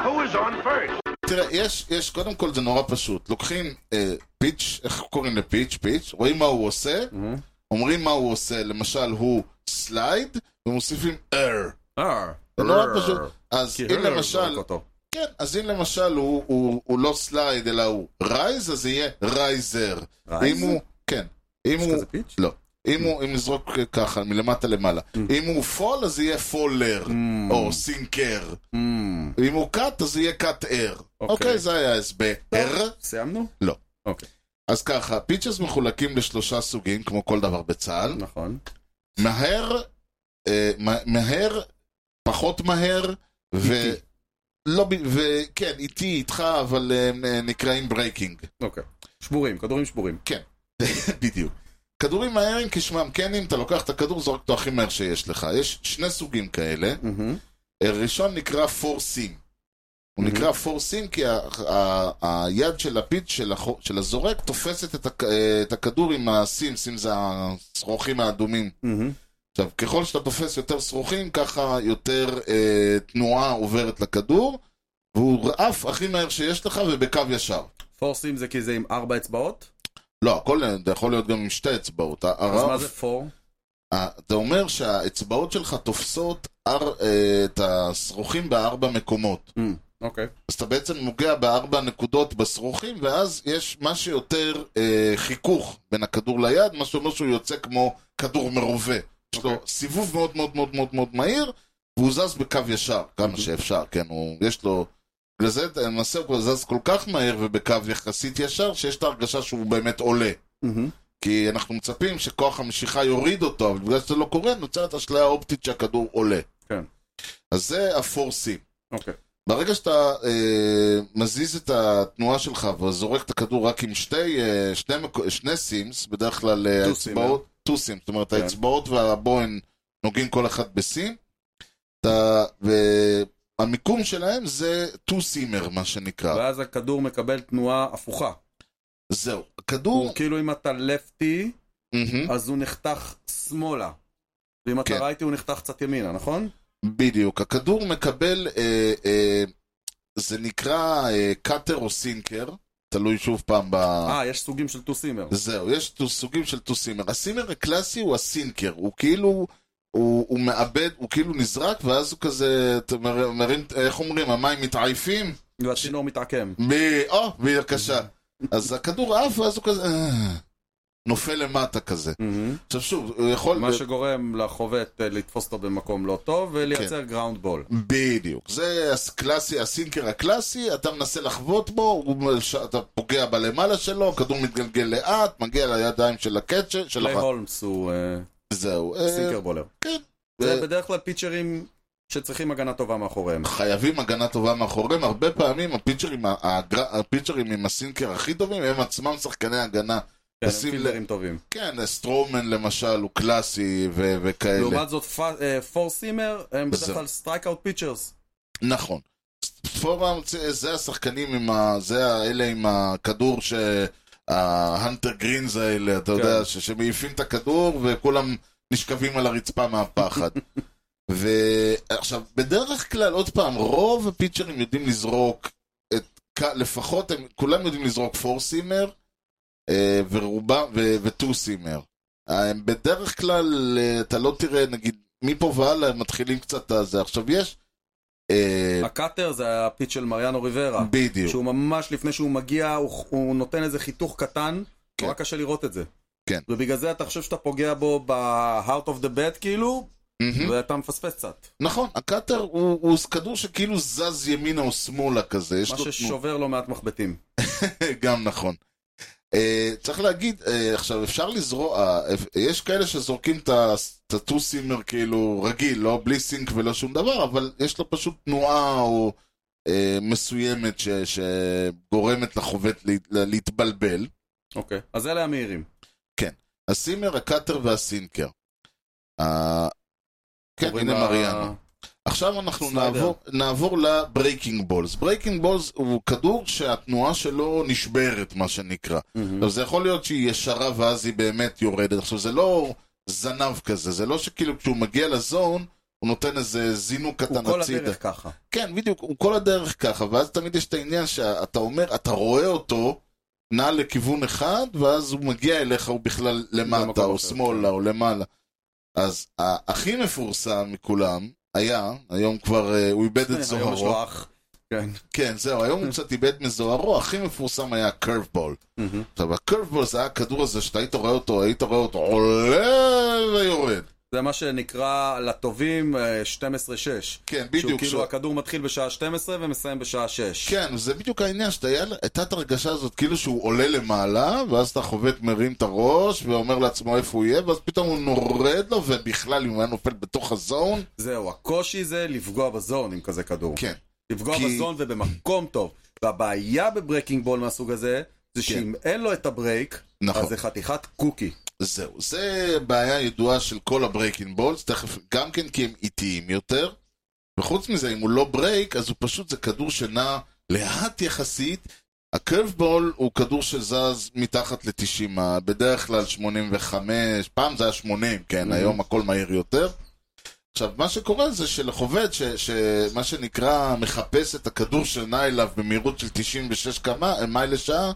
D: Who is on first?
A: תראה, יש, יש, קודם כל זה נורא פשוט. לוקחים אה, פיץ', איך קוראים לפיץ'? פיץ', רואים מה הוא עושה,
B: Mm-hmm.
A: אומרים מה הוא עושה, למשל הוא סלייד, ומוסיפים אר.
B: אה.
A: זה נורא פשוט. אז
B: כי לא
A: אם
B: הרלר
A: למשל,
B: זורק אותו.
A: כן, אז אם למשל הוא, הוא, הוא לא סלייד, אלא הוא רייז, אז זה יהיה רייזר.
B: רייזר?
A: אם הוא, כן. אם
B: יש
A: הוא...
B: כזה פיץ'?
A: לא. אם הוא, אם נזרוק ככה, מלמטה למעלה.
B: Mm.
A: אם הוא פול, אז יהיה פולר, או סינקר.
B: אמ,
A: אם הוא קאט, אז יהיה קאט אר. אוקיי, זה היה ההסבר.
B: סיימנו?
A: לא.
B: אוקיי.
A: אז ככה, פיצ'ס מחולקים לשלושה סוגים, כמו כל דבר בצה"ל.
B: נכון.
A: מהר, אה, מה- מהר, פחות מהר, ו...
B: איטי.
A: לא, ב- וכן, איתי, איתך, אבל אה, נקראים ברייקינג.
B: אוקיי. שבורים, כדורים שבורים.
A: (laughs) בדיוק. כדורים מהירים כשמם כן, אם אתה לוקח את הכדור, זורק אותו הכי מהר שיש לך. יש שני סוגים כאלה.
B: מהמם.
A: הראשון אה, נקרא פורסים. הוא נקרא פורסים כי ה- ה- היד של הפיץ של החו- של הזורק תופסת את הכ- אה, את הכדור עם הסים, סים זה השרוכים האדומים.
B: מהמם.
A: עכשיו, ככל שאתה תופס יותר שרוכים, ככה יותר אה, תנועה עוברת לכדור, והוא עף הכי מהר שיש לך ובקו ישר.
B: פורסים זה כי זה עם ארבע אצבעות?
A: לא, הכל זה יכול להיות גם עם שתי אצבעות.
B: אז מה זה פור?
A: אה, זה אומר שהאצבעות שלך תופסות אר, אה, את השרוכים בארבע מקומות.
B: אמ, אוקיי.
A: אז אתה בעצם נוגע בארבע נקודות בשרוכים, ואז יש מה שיותר אה, חיכוך בין הכדור ליד, מה שאומר שהוא יוצא כמו כדור מרובה. יש לו
B: אוקיי.
A: סיבוב מאוד מאוד מאוד מאוד מאוד מהיר, והוא זז בקו ישר,
B: אוקיי.
A: כמה שאפשר, כן, הוא, יש לו... לזה, למעשה הוא כבר זז כל כך מהר ובקו יחסית ישר, שיש את ההרגשה שהוא באמת עולה. Mm-hmm.
B: מהמם.
A: כי אנחנו מצפים שכוח המשיכה יוריד אותו, אבל בגלל שזה לא קורה, נוצרת אשליה אופטית שהכדור עולה.
B: כן.
A: אז זה הפורסים.
B: אוקיי.
A: ברגע שאתה אה, מזיז את התנועה שלך וזורק את הכדור רק עם שתי, אה, שני, מק... שני סימס, בדרך כלל אה,
B: טו
A: האצבעות, טו סימס, זאת אומרת
B: כן.
A: האצבעות והבוהן נוגעים כל אחת בסים, אתה, והמיקום שלהם זה טו סימר, מה שנקרא.
B: ואז הכדור מקבל תנועה הפוכה.
A: Mm. זהו, הכדור...
B: הוא כאילו אם אתה לפטי,
A: מהמם.
B: אז הוא נחתך שמאלה. ואם אתה
A: Mm. כן.
B: רייטי הוא נחתך קצת ימינה, נכון?
A: בדיוק, הכדור מקבל, אה, אה, זה נקרא אה, קאטר או סינקר, תלוי שוב פעם ב...
B: אה, יש סוגים של טו סימר.
A: זהו, יש טו- סוגים של טו סימר. הסימר הקלאסי הוא הסינקר, הוא כאילו, הוא, הוא מאבד, הוא כאילו נזרק, ואז הוא כזה, אתה מר- מרים, איך אומרים, המים מתעייפים?
B: והצינור מתעקם.
A: מ... או, בבקשה. אז הכדור עף, ואז הוא כזה, אה, נופל למטה כזה.
B: מהמם.
A: עכשיו שוב, הוא יכול...
B: מה שגורם לחובט אה, לתפוס אותו במקום לא טוב ולייצר
A: כן.
B: גראונד בול.
A: בדיוק. זה הקלאסי, הסינקר הקלאסי, אתה מנסה לחבוט בו, הוא- אתה פוגע בלמעלה שלו, הכדור מתגלגל לאט, מגיע לידיים של הקצ'ר, של
B: ליי
A: הח...
B: הולמס הוא אה,
A: זהו. נכון. אה,
B: סינקר בולר.
A: כן.
B: זה
A: אה,
B: בדרך כלל פיצ'רים שצריכים הגנה טובה מאחוריהם.
A: נכון. חייבים הגנה טובה מאחוריהם, הרבה פעמים הפיצ'רים, ה- הגר- הפיצ'רים עם הסינקר הכי טובים הם עצמם שחקני הגנה.
B: כן, הם
A: תשים לב.
B: פילדרים טובים.
A: כן, סטרומן למשל הוא קלאסי ו- וכאלה.
B: לעומת זאת, פ- אה, פור סימר הם בדרך
A: זהו.
B: כלל סטרייק אאוט פיצ'רס.
A: נכון. פורם זה- זה השחקנים עם ה... זה האלה עם הכדור ש... ההנטר גרינז האלה, אתה
B: כן.
A: יודע, ש- שמעיפים את הכדור וכולם נשכבים על הרצפה מהפחד. ועכשיו, בדרך כלל, עוד פעם, רוב הפיצ'רים יודעים לזרוק את... כ- לפחות הם, כולם יודעים לזרוק פור סימר אה, ורובם, וטו סימר. בדרך כלל אה, אתה אה, לא תראה, נגיד, מפה והלאה הם מתחילים קצת את זה. עכשיו יש... אה,
B: הקאטר זה הפיץ של מריאנו ריברה.
A: בדיוק.
B: שהוא ממש לפני שהוא מגיע, הוא, הוא נותן איזה חיתוך קטן,
A: כן.
B: נורא קשה לראות את זה.
A: כן.
B: ובגלל זה אתה חושב שאתה פוגע בו ב-heart of the bed כאילו,
A: מהמם.
B: ואתה מפספס קצת.
A: נכון, הקאטר הוא הוא כדור שכאילו זז ימינה או שמאלה כזה. יש
B: מה
A: לו תנועה.
B: ששובר לא מעט מחבטים.
A: (laughs) גם נכון. Uh, צריך להגיד, uh, עכשיו אפשר לזרוע, uh, יש כאלה שזורקים את ה- את הטוסימר כאילו רגיל, לא בלי סינק ולא שום דבר, אבל יש לו פשוט תנועה או uh, מסוימת ש, שגורמת לחובט לה, לה, להתבלבל.
B: אוקיי. אז אלה המהירים.
A: כן, הסימר, הקאטר והסינקר. Uh, כן,
B: קוראים
A: הנה
B: לה-
A: מריאנו. עכשיו אנחנו
B: סניידר.
A: נעבור, נעבור לברייקינג בולס. ברייקינג בולס הוא כדור שהתנועה שלו נשברת, מה שנקרא.
B: מהמם.
A: עכשיו, זה יכול להיות שהיא ישרה ואז היא באמת יורדת. עכשיו, זה לא זנב כזה, זה לא שכאילו כשהוא מגיע לזון, הוא נותן איזה זינוק
B: הוא
A: קטן
B: כל
A: הצידה.
B: הדרך ככה.
A: כן, בדיוק, הוא כל הדרך ככה, ואז תמיד יש את העניין שאתה אומר, אתה רואה אותו, נע לכיוון אחד, ואז הוא מגיע אליך, הוא בכלל למטה,
B: במקום
A: או
B: אחר, כן.
A: שמאלה, או למעלה. אז ה- הכי מפורסם מכולם היה, היום כבר אה, הוא איבד את
B: כן, היום יש לו
A: זוהרו,
B: אח. כן.
A: כן, זהו, היום הוא קצת איבד מזוהרו, הכי מפורסם היה קרבבול.
B: מהמם.
A: עכשיו, הקרבבול זה היה הכדור הזה שאתה היית רואה אותו, היית רואה אותו עולה ויורד.
B: זה מה שנקרא לטובים אה, 12-6.
A: כן,
B: שהוא
A: בדיוק.
B: כאילו
A: שהוא-
B: הכדור מתחיל בשעה 12 ומסיים בשעה 6.
A: כן, זה בדיוק העניין, שאתה היה- הייתה את הרגשה הזאת, כאילו שהוא עולה למעלה, ואז אתה חובט מרים את הראש, ואומר לעצמו איפה הוא יהיה, ואז פתאום הוא נורד לו, ובכלל, אם הוא היה נופל בתוך הזון,
B: זהו, הקושי זה לפגוע בזון עם כזה כדור.
A: כן.
B: לפגוע
A: כי-
B: בזון ובמקום טוב. והבעיה בברקינג בול מהסוג הזה, זה שאם אין לו את הברייק,
A: כן. נכון.
B: אז זה חתיכת קוקי.
A: זהו, זה בעיה ידועה של כל הברייקינג בולס, תכף גם כן כי הם איטיים יותר. וחוץ מזה, אם הוא לא ברייק, אז הוא פשוט, זה כדור שנע לאט יחסית. הקרבבול הוא כדור שזז מתחת ל-90, בדרך כלל 85, פעם זה היה 80, כן,
B: Mhm.
A: היום הכל מהיר יותר. עכשיו, מה שקורה זה שלחובד, ש- שמה שנקרא, מחפש את הכדור שנע אליו במהירות של 96 כמה, אה, מייל לשעה,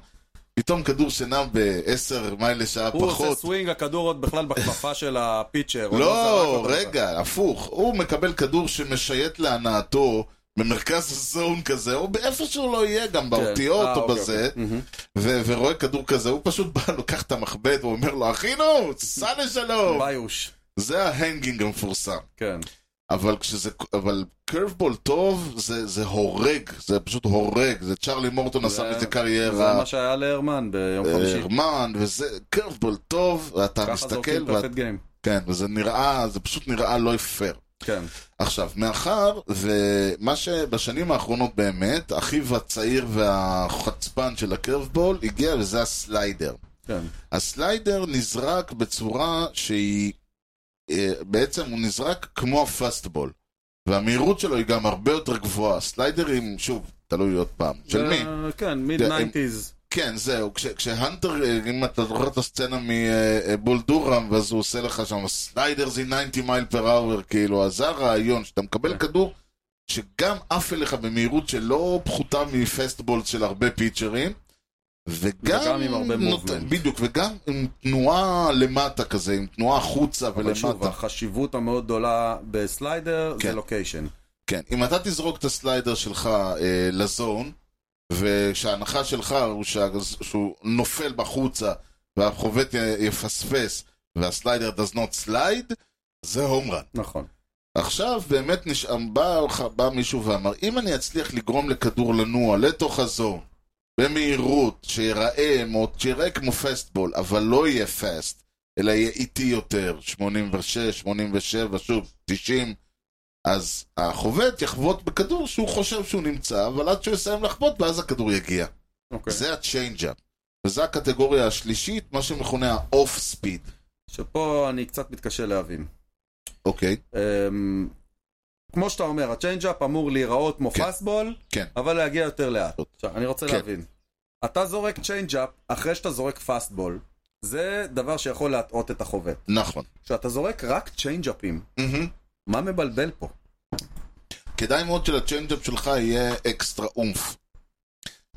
A: פתאום כדור שנע ב-10 מייל לשעה
B: הוא עושה
A: פחות.
B: סווינג, הכדור עוד בכלל בכפפה של הפיצ'ר. הוא זרק
A: לא,
B: אותו בכלל.
A: רגע, הפוך. הוא מקבל כדור שמשייט להנאתו במרכז הזון כזה, או באיפה שהוא לא יהיה, גם
B: אה,
A: באותיות או
B: אוקיי,
A: בזה,
B: אוקיי. מהמם.
A: ו- ורואה כדור כזה, הוא פשוט בא, (laughs) לוקח את המחבט, הוא אומר לו, אחינו, סע לשלום.
B: ביוש.
A: זה ההנגינג המפורסם.
B: כן.
A: אבל כשזה, אבל קרבבול טוב, זה, זה הורג, זה פשוט הורג, זה צ'רלי מורטון עשה מזה
B: זה
A: קריירה,
B: מה שהיה להרמן ביום
A: אה,
B: חמישי.
A: הרמן, וזה, קרבבול טוב, ואתה
B: ככה זורקים
A: מסתכל, ואת,
B: פרפט גיים.
A: כן, וזה נראה, זה פשוט נראה לא פייר.
B: כן.
A: עכשיו, מאחר ומה שבשנים האחרונות באמת, אחיו הצעיר והחצפן של הקרבבול הגיע וזה הסליידר.
B: כן.
A: הסליידר נזרק בצורה שהיא... אה, בעצם הוא נזרק כמו הפסטבול. והמהירות שלו היא גם הרבה יותר גבוהה. סליידרים, שוב, תלוי עוד פעם. של
B: זה-
A: מי?
B: כן, מיד
A: זה- הם-
B: 90's.
A: כן, זהו. כש, כשהנטר, אה, אם אתה זוכר את הסצנה מבול דורם, ואז הוא עושה לך שם סליידר זה 90 מייל פר אאואר, כאילו, אז זה הרעיון, שאתה מקבל
B: כן.
A: כדור שגם עף אליך במהירות שלא פחותה מפסטבול של הרבה פיצ'רים, וגם...
B: וגם עם הרבה מובמנט.
A: בדיוק, וגם עם תנועה למטה כזה, עם תנועה החוצה
B: אבל שוב,
A: ולמטה.
B: החשיבות המאוד גדולה בסליידר
A: כן.
B: זה לוקיישן.
A: כן, אם אתה תזרוק את הסליידר שלך אה, לזון, ושההנחה שלך הוא שה, שהוא נופל בחוצה, והחובט י- יפספס, והסליידר does not slide, זה הום רן.
B: נכון.
A: עכשיו באמת נשאם, בא, בא מישהו ואמר, אם אני אצליח לגרום לכדור לנוע לתוך הזון, במהירות, שיראה, מו- שיראה כמו פסטבול, אבל לא יהיה פסט, אלא יהיה איטי יותר, 86, 87, שוב, 90, אז החובט יחבוט בכדור שהוא חושב שהוא נמצא, אבל עד שהוא יסיים לחבוט, ואז הכדור יגיע.
B: אוקיי.
A: זה הצ'יינג'אפ. וזו הקטגוריה השלישית, מה שמכונה האוף ספיד,
B: שפה אני קצת מתקשה להבין.
A: אוקיי?
B: אמ, כמו שאתה אומר, הצ'יינג'אפ אמור להיראות כמו
A: כן.
B: פסבול,
A: כן.
B: אבל להגיע יותר לאט. עכשיו, אני רוצה
A: כן.
B: להבין. אתה זורק צ'יינג'אפ אחרי שאתה זורק פסטבול, זה דבר שיכול להטעות את החובט.
A: נכון.
B: כשאתה זורק רק צ'יינג'אפים,
A: מהמם.
B: מה מבלבל פה?
A: כדאי מאוד שלצ'יינג'אפ שלך יהיה אקסטרה אומף.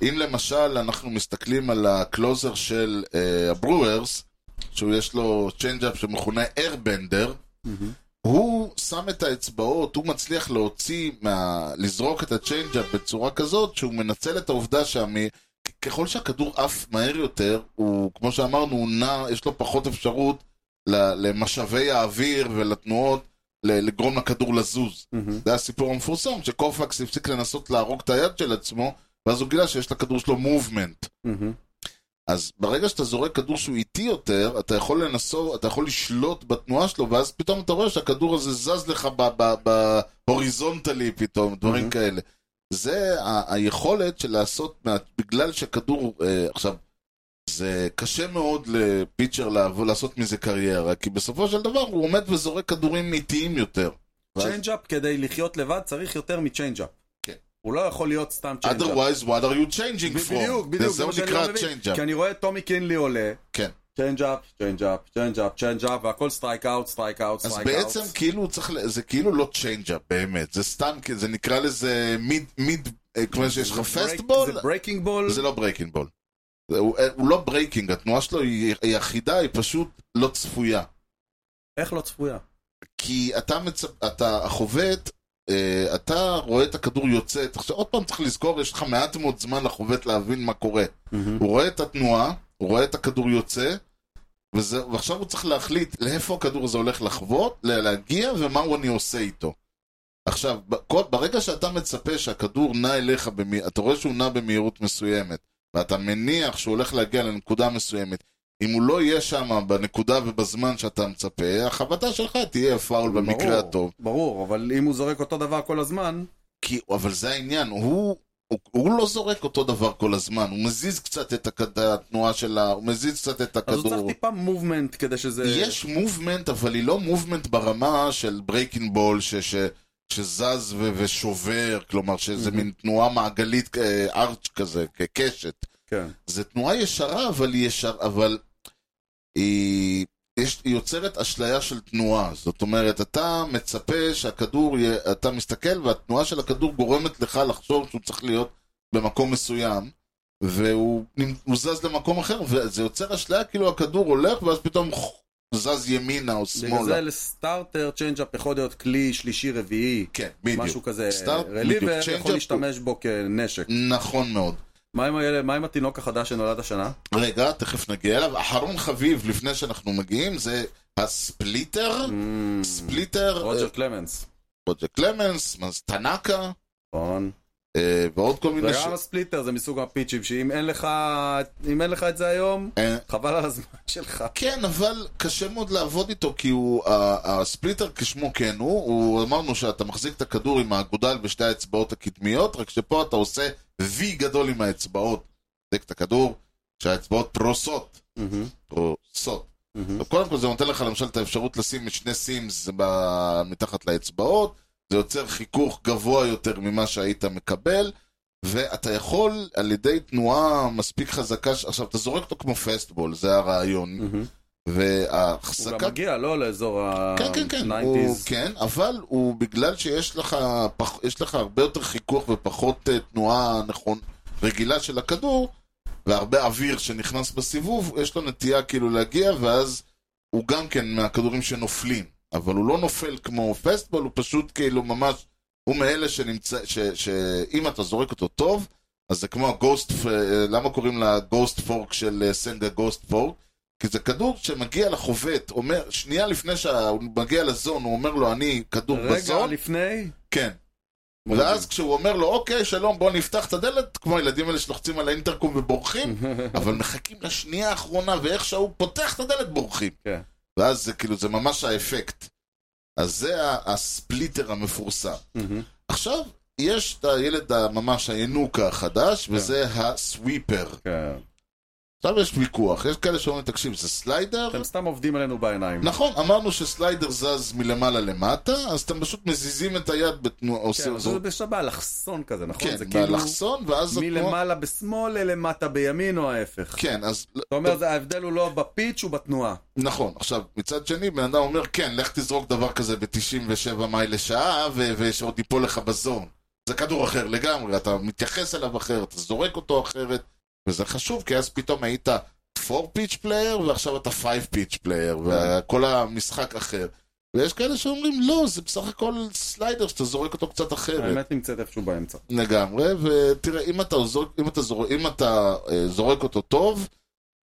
A: אם למשל אנחנו מסתכלים על הקלוזר של אה, הברוורס, שהוא יש לו צ'יינג'אפ שמכונה איירבנדר, הוא שם את האצבעות, הוא מצליח להוציא, מה... לזרוק את הצ'יינג'אפ בצורה כזאת שהוא מנצל את העובדה שהמ... ככל שהכדור עף מהר יותר, הוא, כמו שאמרנו, הוא נע, יש לו פחות אפשרות ל- למשאבי האוויר ולתנועות ל- לגרום לכדור לזוז. זה הסיפור המפורסם, שקורפקס הפסיק לנסות להרוג את היד של עצמו, ואז הוא גילה שיש לכדור שלו מובמנט. אז ברגע שאתה זורק כדור שהוא איטי יותר, אתה יכול לנסות, אתה יכול לשלוט בתנועה שלו, ואז פתאום אתה רואה שהכדור הזה זז לך ב- ב- בהוריזונטלי פתאום, דברים
B: Mhm.
A: כאלה. זה ה- היכולת של לעשות, מה- בגלל שכדור, אה, עכשיו, זה קשה מאוד לפיצ'ר לעבור- לעשות מזה קריירה, כי בסופו של דבר הוא עומד וזורק כדורים איטיים יותר. ואז-
B: צ'יינג'אפ כדי לחיות לבד צריך יותר מצ'יינג'אפ.
A: כן.
B: הוא לא יכול להיות סתם צ'יינג'אפ.
A: Otherwise, what are you changing
B: ב-
A: from?
B: בדיוק, בדיוק,
A: זה
B: זה
A: הוא
B: מה שאני לא
A: נקרא
B: מבין.
A: צ'יינג'אפ.
B: כי אני רואה את טומי קינלי עולה,
A: כן.
B: צ'יינג'אפ, צ'יינג'אפ, צ'יינג'אפ, צ'יינג'אפ, והכל סטרייק אאוט, סטרייק אאוט,
A: אז
B: סטרייק אאוט.
A: בעצם כאילו הוא צריך, ל- זה כאילו לא צ'יינג'אפ באמת, זה סתם, כי זה נקרא לזה מיד, מיד, אה, כמו שיש לך פסטבול,
B: זה ברייקינג בול.
A: זה לא ברייקינג בול. זה- הוא אה, הוא לא ברייקינג, התנועה שלו היא היא אחידה, היא פשוט לא צפויה.
B: איך לא צפויה?
A: כי אתה, מצפ... אתה החובט, אה, אתה רואה את הכדור יוצא, עכשיו עוד פעם צריך לזכור, יש לך מעט מאוד זמן לחובט להבין מה קורה. הוא רואה את התנועה, הוא רואה את הכדור יוצא, וזה, ועכשיו הוא צריך להחליט לאיפה הכדור הזה הולך לחוות, ל- להגיע, ומה הוא אני עושה איתו. עכשיו, ב- כל- ברגע שאתה מצפה שהכדור נע אליך, במי... אתה רואה שהוא נע במהירות מסוימת, ואתה מניח שהוא הולך להגיע לנקודה מסוימת, אם הוא לא יהיה שם בנקודה ובזמן שאתה מצפה, החבטה שלך תהיה פאול במקרה
B: ברור,
A: הטוב.
B: ברור, אבל אם הוא זורק אותו דבר כל הזמן,
A: כי, אבל זה העניין, הוא, הוא, הוא לא זורק אותו דבר כל הזמן, הוא מזיז קצת את הכד- התנועה שלה, הוא מזיז קצת את
B: אז
A: הכדור.
B: הוא צריך טיפה מובמנט כדי שזה...
A: יש מובמנט, אבל היא לא מובמנט ברמה של ברייקינג בול ש, ש, שזז ו, ושובר, כלומר שזה mm-hmm.
B: Mhm.
A: מין תנועה מעגלית, אה, ארץ' כזה, כקשת.
B: כן.
A: זה תנועה ישרה, אבל היא ישר, אבל היא, יש, היא יוצרת אשליה של תנועה. זאת אומרת, אתה מצפה שהכדור, יהיה, אתה מסתכל והתנועה של הכדור גורמת לך לחשוב שהוא צריך להיות במקום מסוים. והוא נמ- הוא זז למקום אחר, וזה יוצר אשליה, כאילו הכדור הולך, ואז פתאום זז ימינה או
B: בגלל
A: שמאלה.
B: זה לסטארטר צ'יינג'אפ יכול להיות כלי שלישי רביעי,
A: כן, בדיוק.
B: משהו כזה,
A: סטארט- בדיוק.
B: רליבר,
A: צ'יינג'אפ
B: יכול
A: הוא-
B: להשתמש בו כנשק.
A: נכון מאוד.
B: מה עם הילד- מה עם התינוק החדש שנולד השנה?
A: רגע, תכף נגיע אליו. אחרון חביב, לפני שאנחנו מגיעים, זה הספליטר. ספליטר,
B: Mm.
A: אה,
B: רוג'ר קלמנס.
A: רוג'ר קלמנס, אז טנאקה,
B: נכון.
A: אה, ועוד כל מיני...
B: וגם
A: ש-
B: הספליטר זה מסוג הפיצ'ים שאם אין לך אם אין לך את זה היום,
A: אה,
B: חבל על הזמן (laughs) שלך.
A: כן, אבל קשה מאוד לעבוד איתו, כי הוא, ה- הספליטר כשמו כן הוא, הוא אמרנו שאתה מחזיק את הכדור עם האגודל בשתי האצבעות הקדמיות, רק שפה אתה עושה וי גדול עם האצבעות. מחזיק את הכדור, שהאצבעות פרוסות. פרוסות.
B: מהמם.
A: אז קודם כל זה נותן לך למשל את האפשרות לשים את שני סימס ב- מתחת לאצבעות, זה יוצר חיכוך גבוה יותר ממה שהיית מקבל, ואתה יכול על ידי תנועה מספיק חזקה, ש- עכשיו אתה זורק אותו כמו פסטבול, זה הרעיון,
B: מהמם. הוא גם
A: וההחזקה...
B: מגיע לא לאזור ה...
A: כן, כן, כן, הוא,
B: 90s.
A: כן, אבל הוא בגלל שיש לך, פח, יש לך הרבה יותר חיכוך ופחות אה, תנועה נכון, רגילה של הכדור, והרבה אוויר שנכנס בסיבוב, יש לו נטייה כאילו להגיע, ואז הוא גם כן מהכדורים שנופלים. אבל הוא לא נופל כמו פסטבול, הוא פשוט כאילו ממש, הוא מאלה שנמצא, ש, שאם אתה זורק אותו טוב, אז זה כמו הגוסט, אה, למה קוראים לה גוסט פורק של אה, סנגה גוסט פורק? כי זה כדור שמגיע לחובט, אומר, שנייה לפני שהוא מגיע לזון, הוא אומר לו, אני כדור
B: רגע
A: בזון,
B: לפני,
A: (laughs) כן. ואז כשהוא אומר לו, אוקיי, שלום, בוא נפתח את הדלת, כמו הילדים האלה שלוחצים על האינטרקום ובורחים, אבל מחכים לשנייה האחרונה, ואיך שהוא פותח את הדלת, בורחים.
B: כן.
A: ואז זה כאילו, זה ממש האפקט. אז זה ה- הספליטר המפורסם.
B: מהמם.
A: עכשיו, יש את הילד הממש הינוקה החדש, וזה הסוויפר.
B: כן.
A: עכשיו יש ויכוח, יש כאלה שאומרים, תקשיב, זה סליידר?
B: אתם סתם עובדים עלינו בעיניים.
A: נכון, אמרנו שסליידר זז מלמעלה למטה, אז אתם פשוט מזיזים את היד בתנועה,
B: כן,
A: עושים
B: אבל
A: זאת.
B: זה בשביל באלכסון כזה, נכון?
A: כן,
B: זה כאילו
A: באלכסון, ואז התנועה...
B: מלמעלה בשמאל למטה בימין או ההפך.
A: כן, אז...
B: אתה אומר, זה- ההבדל הוא לא בפיץ' הוא בתנועה.
A: נכון, עכשיו, מצד שני, בן אדם אומר, כן, לך תזרוק דבר כזה ב-97 מייל לשעה, ו- ושעוד ייפול לך בזון. זה כדור אחר לגמרי, אתה מתייחס אליו אחרת, אתה זורק אותו אחרת, וזה חשוב, כי אז פתאום היית 4 פיץ' פלייר, ועכשיו אתה 5 פיץ' פלייר, וכל המשחק אחר. ויש כאלה שאומרים, לא, זה בסך הכל סליידר שאתה זורק אותו קצת אחרת.
B: האמת נמצאת איפשהו באמצע.
A: לגמרי, ותראה, אם אתה, זורק, אם אתה, זורק, אם אתה אה, זורק אותו טוב,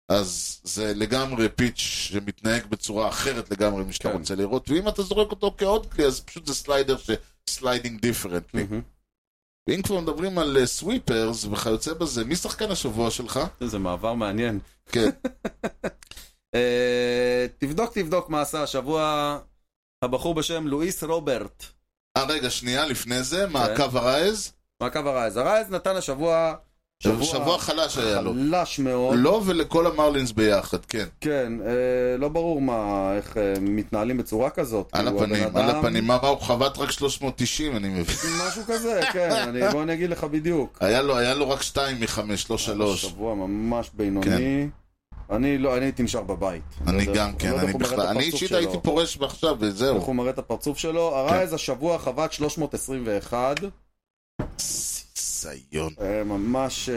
A: אז זה לגמרי פיץ' שמתנהג בצורה אחרת לגמרי ממה שאתה
B: כן.
A: רוצה לראות, ואם אתה זורק אותו כעוד כלי, אז פשוט זה סליידר ש... סליידינג דיפרנטלי.
B: מהמם. Mm-hmm.
A: ואם כבר מדברים על סוויפרס וכיוצא בזה, מי שחקן השבוע שלך?
B: איזה מעבר מעניין. (laughs)
A: כן,
B: אה, תבדוק תבדוק מה עשה השבוע הבחור בשם לואיס רוברט.
A: אה, רגע, שנייה לפני זה,
B: כן.
A: מעקב הרייז?
B: מעקב הרייז. הרייז נתן השבוע...
A: שבוע חלש היה לו.
B: חלש מאוד.
A: לא ולכל המרלינס ביחד, כן.
B: כן, אה, לא ברור מה, איך אה, מתנהלים בצורה כזאת.
A: על
B: כאילו,
A: הפנים,
B: הבן
A: על
B: אדם-
A: הפנים. מה, מה, הוא חבט רק 390, אני מבין.
B: משהו כזה, כן,
A: (laughs)
B: אני, בוא אני אגיד לך בדיוק.
A: היה לו, היה לו רק 2 מ-5,
B: אה,
A: לא 3.
B: שבוע ממש בינוני. אני לא, אני הייתי נשאר בבית.
A: כן. אני
B: לא יודע-
A: גם כן,
B: לא יודע
A: אני
B: איך הוא מראה את
A: בכלל. אני
B: הפרצוף
A: אישית
B: שלו. נכון.
A: הייתי כן. פורש עכשיו,
B: איך
A: וזהו.
B: הוא מראה את הפרצוף שלו. הרייז השבוע חבט 321,
A: ציון,
B: אה, ממש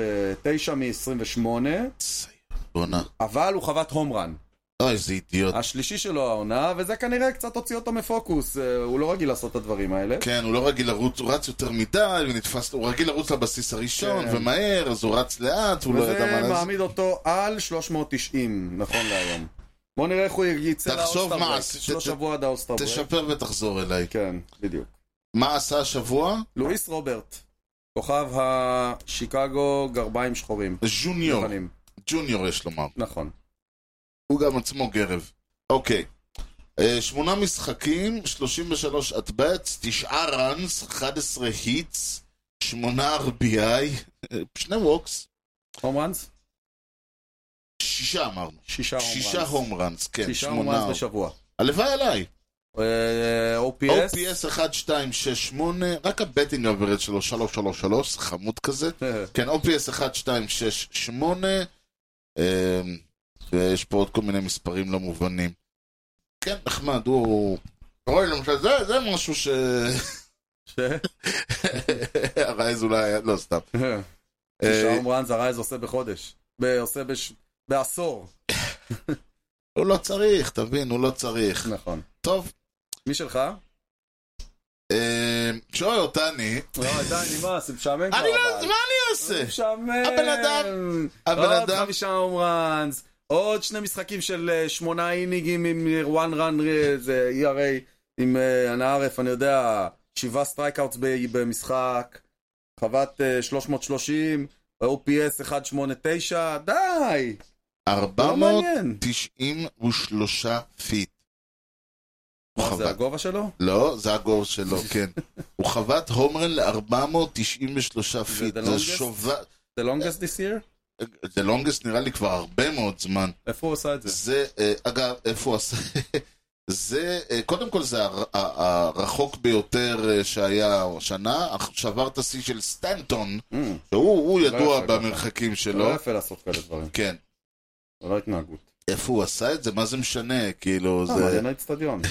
B: 9 מ-28,
A: ציון. בואנה.
B: אבל הוא חבט הום רן.
A: אוי, איזה אידיוט.
B: השלישי שלו העונה, וזה כנראה קצת הוציא אותו מפוקוס, אה, הוא לא רגיל לעשות את הדברים האלה.
A: כן, הוא לא רגיל לרוץ, הוא רץ יותר מדי, ונתפס, הוא רגיל לרוץ לבסיס הראשון,
B: כן.
A: ומהר, אז הוא רץ לאט, הוא לא ידע
B: וזה
A: מה לעשות.
B: מעמיד אותו על 390, נכון להיום. בוא נראה איך הוא יצא
A: תחשוב
B: לאוסטר
A: מה
B: ברייק,
A: עשית,
B: יש לו
A: ת-
B: שבוע עד האוסטר ברייק.
A: תשפר ותחזור אליי.
B: כן, בדיוק.
A: מה עשה השבוע?
B: לואיס רוברט, כוכב השיקגו גרביים שחורים.
A: ז'וניור.
B: לבנים.
A: ג'וניור יש לומר.
B: נכון.
A: הוא גם עצמו גרב. אוקיי. אה, שמונה משחקים, 33 אטבטס, תשעה ראנס, 11 היטס, שמונה RBI, אה, (laughs) שני ווקס,
B: הום ראנס?
A: שישה אמרנו.
B: שישה הום ראנס.
A: שישה הום ראנס, כן,
B: שישה הום ראנס
A: שמונה.
B: בשבוע.
A: הלוואי עליי.
B: אה, OPS?
A: OPS 1268, רק הבטינג אברד שלו 333, חמוד כזה.
B: אה,
A: כן, OPS 1268, אמ, ויש פה עוד כל מיני מספרים לא מובנים. כן, נחמד, הוא... אוי, למשל, זה, זה משהו ש... (laughs)
B: ש-
A: הרייז אולי היה... לא, סתם.
B: שישה
A: אה,
B: הום ראנס הרייז עושה בחודש. ב- עושה בש- בעשור.
A: הוא לא צריך, תבין, הוא לא צריך.
B: נכון.
A: טוב,
B: מי שלך?
A: אמ, שואל אותני,
B: לא, די, נמאס, זה משעמם כבר.
A: אני לא...
B: אבל.
A: מה אני אעשה?
B: משעמם.
A: הבן אדם- הבן
B: עוד
A: אדם-
B: חמישה הום ראנס, עוד שני משחקים של אה, שמונה אינינגים עם one run, אה, זה ERA, עם אה, הנערף, אני יודע, שבעה סטרייקאוטס ב- במשחק, חוות אה, 330, OPS 189, די! לא מעניין.
A: 493 פיט. הוא
B: מה זה
A: חבט.
B: הגובה שלו?
A: לא, זה הגול שלו,
B: (laughs)
A: כן. הוא חבט הומרן ל-493 פיט.
B: the
A: זה
B: longest?
A: שובה...
B: The longest this year?
A: The longest נראה לי כבר הרבה מאוד זמן.
B: איפה הוא עשה את זה?
A: זה, אה, אגב, איפה הוא עשה... (laughs) זה, אה, קודם כל זה הר- ה- הרחוק ביותר אה, שהיה השנה, אך שבר את השיא של סטנטון,
B: Mm,
A: שהוא הוא
B: לא
A: ידוע
B: יפה ככה.
A: במרחקים
B: זה לא
A: שלו.
B: יפה לעשות כאלה דברים,
A: כן.
B: זה לא התנהגות.
A: איפה הוא עשה את זה? מה זה משנה? כאילו,
B: אה,
A: זה... (laughs)
B: מעניין האצטדיון.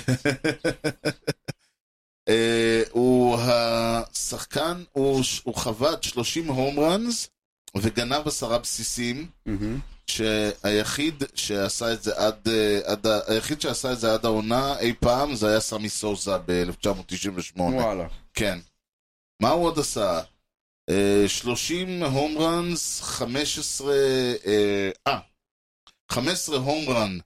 A: אה, הוא השחקן, הוא, ש- הוא חבט 30 הום ראנס וגנב עשרה בסיסים,
B: מהמם.
A: שהיחיד שעשה את זה עד, אה, עד, ה- היחיד שעשה את זה עד העונה אי פעם זה היה סמי סוזה ב-1998.
B: וואלה.
A: כן. מה הוא עוד עשה? אה, 30 הום ראנס, 15... אה, אה, 15 הום ראן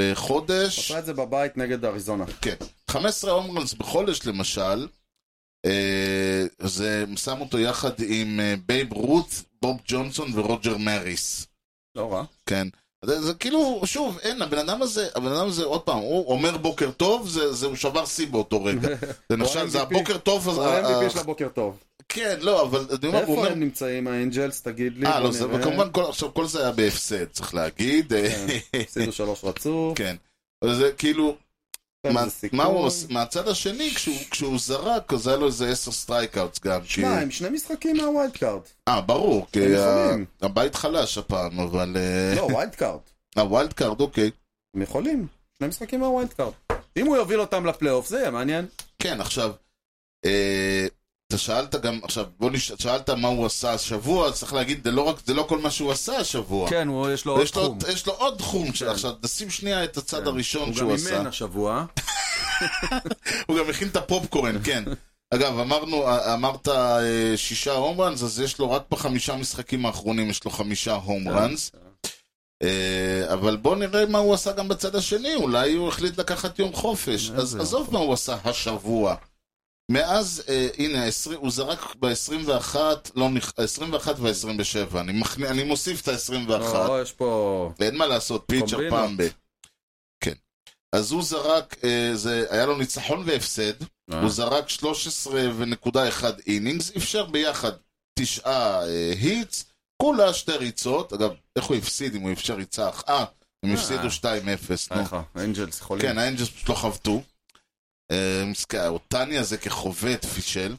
A: בחודש.
B: עשה את זה בבית נגד אריזונה.
A: כן. 15 הומרנס בחודש למשל, אה, זה שם אותו יחד עם אה, בייב רות, בוב ג'ונסון ורוג'ר מריס.
B: לא רע.
A: כן. זה, זה כאילו, שוב, אין, הבן אדם הזה, הבן אדם הזה, עוד פעם, הוא אומר בוקר טוב, זה, זה הוא שבר שיא באותו
B: (laughs)
A: רגע. זה נחשב, זה
B: MVP.
A: הבוקר טוב, אז...
B: הוא
A: ה- ה-
B: ה-MVP של הבוקר טוב.
A: כן, לא, אבל אני אומר, אה, הוא
B: איפה
A: אומר...
B: הם נמצאים האנג'לס? תגיד לי.
A: אה,
B: בוא
A: לא, זה,
B: נראה.
A: וכמובן, כל, עכשיו, כל זה היה בהפסד, צריך להגיד. אה,
B: הפסידו שלוש
A: (laughs)
B: רצוף.
A: כן. אז זה כאילו, מה-
B: זה סיכון.
A: מה הוא עושה? מהצד השני, כשהוא- כשהוא זרק, אז היה לו איזה עשר סטרייקאוטס גם. כי-
B: שמע, הם שני משחקים מהווילד קארד.
A: אה, ברור, כי ה-
B: יכולים.
A: הבית חלש הפעם, אבל... אה,
B: לא, ווילד קארד.
A: הווילד קארד, אוקיי.
B: הם יכולים. שני משחקים מהווילד קארד. אם הוא יוביל אותם לפלייאוף, זה יהיה מעניין.
A: כן, עכשיו, אה, אתה שאלת גם, עכשיו, בוא נש... שאלת מה הוא עשה השבוע, אז צריך להגיד, זה לא, רק, זה לא כל מה שהוא עשה השבוע.
B: כן, הוא- יש לו
A: אה, יש לו, יש לו עוד תחום, של- עכשיו, נשים שנייה את הצד הראשון שהוא
B: כן. הוא גם
A: עשה.
B: אימן השבוע.
A: הוא גם הכין את הפופקורן, כן. אגב, אמרנו, אמרת אה, שישה הום ראנס, אז יש לו רק בחמישה משחקים האחרונים, יש לו חמישה הום ראנס.
B: אה.
A: אה, אבל בוא נראה מה הוא עשה גם בצד השני, אולי הוא החליט לקחת יום חופש.
B: איזה
A: אז
B: אה, יום
A: עזוב מה הוא עשה השבוע. מאז, אה, הנה, ה-20 הוא זרק ב-21, לא, ה-21 וה-27, אני, מכנ... אני מוסיף את ה-21.
B: לא, יש פה...
A: אין מה לעשות, פיצ'ר
B: קומבינות.
A: פעם ב... כן. אז הוא זרק, אה, זה, היה לו ניצחון והפסד,
B: אה.
A: הוא זרק 13.1 אינינגס, אפשר ביחד תשעה אה, היטס, כולה שתי ריצות, אגב, איך הוא הפסיד אם הוא אפשר ריצה אחת? אה, הם
B: אה.
A: הפסידו 2-0, נו.
B: איך האנג'לס חולים.
A: כן, האנג'לס פשוט לא חבטו. אה, מסכן, אותני הזה כחובט
B: (laughs)
A: פישל.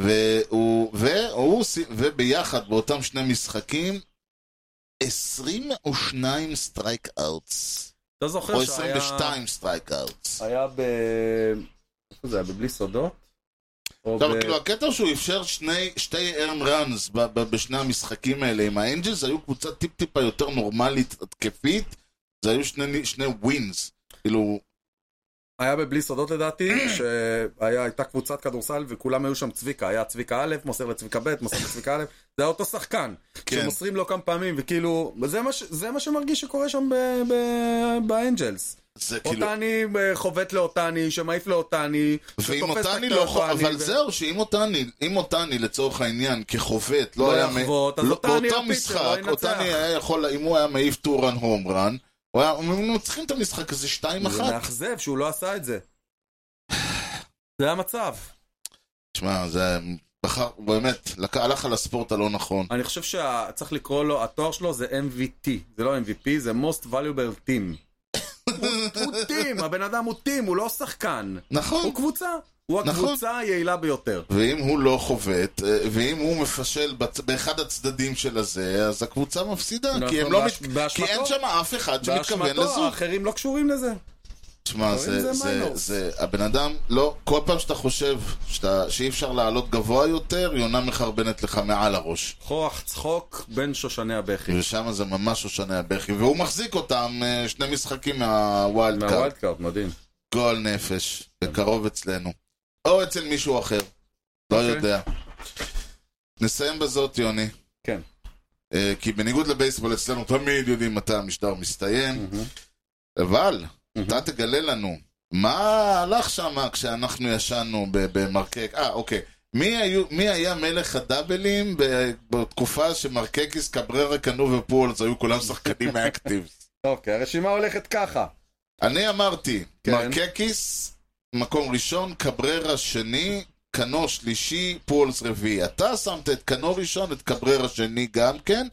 A: והוא, והוא, סי- וביחד באותם שני משחקים, 22 סטרייק אאוטס.
B: אתה זוכר
A: או
B: שהיה... אה,
A: 22 סטרייק אאוטס.
B: היה ב... איפה זה היה? בבלי סודות? או
A: עכשיו,
B: ב-
A: כאילו, הקטע שהוא אפשר שני, שתי ארן ראנס ב- ב- בשני המשחקים האלה עם האנג'לס, היו קבוצה טיפ-טיפה יותר נורמלית, התקפית, זה היו שני, שני ווינס. כאילו,
B: היה בבלי סודות לדעתי, שהייתה קבוצת כדורסל וכולם היו שם צביקה, היה צביקה א', מוסר לצביקה ב', מוסר לצביקה א', זה היה אותו שחקן,
A: כן.
B: שמוסרים לו כמה פעמים, וכאילו, זה מה, ש- זה מה שמרגיש שקורה שם ב- ב- באנג'לס.
A: זה כאילו...
B: אותני אה, חובט לאותני, שמעיף לאותני,
A: ואם
B: שתופס את
A: אותני
B: הקטע
A: לא חו...
B: לאותני,
A: אבל
B: ו-
A: זהו, שאם אותני, אם אותני לצורך העניין כחובט
B: לא
A: לא היה... מ-
B: יחבוט, אז
A: לא-
B: אותני
A: באותו
B: הפיצ'ר, לא
A: משחק,
B: ינצח.
A: אותני היה יכול, אם הוא היה מעיף טורן הום רן, הוא היה... הם מנצחים את המשחק הזה 2-1.
B: זה מאכזב שהוא לא עשה את זה. זה המצב.
A: תשמע, זה... בחר, באמת, לק... הלך על הספורט הלא נכון.
B: אני חושב שצריך לקרוא לו, התואר שלו זה MVP, זה לא MVP, זה most valuable team. הוא,
A: (laughs)
B: הוא טים, הבן אדם הוא טים, הוא לא שחקן.
A: נכון.
B: הוא קבוצה, הוא
A: נכון.
B: הקבוצה היעילה ביותר.
A: ואם הוא לא חובט, אה, ואם הוא מפשל בצ... באחד הצדדים של הזה, אז הקבוצה מפסידה,
B: נכון,
A: כי, הם לא
B: באש-
A: מת...
B: באשמתו.
A: כי אין שם אף אחד שמתכוון
B: באשמתו,
A: לזוג.
B: האחרים לא קשורים לזה.
A: תשמע,
B: דברים
A: זה,
B: זה
A: זה,
B: מיינורס.
A: זה, הבן אדם, לא, כל פעם שאתה חושב שאתה, שאי אפשר לעלות גבוה יותר, יונה מחרבנת לך מעל הראש.
B: כוח צחוק בין שושני הבכי.
A: ושם זה ממש שושני הבכי, והוא מחזיק אותם אה, שני משחקים מהווילד קארד.
B: מהווילד קארד, מדהים.
A: גועל נפש, בקרוב אצלנו. או אצל מישהו אחר, לא יודע. נסיים בזאת, יוני.
B: כן.
A: אה, כי בניגוד לבייסבול, אצלנו תמיד יודעים מתי המשדר מסתיים. אבל, אתה תגלה לנו, מה הלך שם כשאנחנו ישנו ב- במרקק? אה, אוקיי. מי, היו, מי היה מלך הדאבלים ב- בתקופה שמרקקיס, קבררה, קנו ופולס היו כולם שחקנים אקטיבס?
B: אוקיי, הרשימה הולכת ככה.
A: אני אמרתי,
B: כן.
A: מרקקיס, מקום ראשון, קבררה שני, קנו שלישי, פולס רביעי. אתה שמת את קנו ראשון, את קבררה שני גם כן,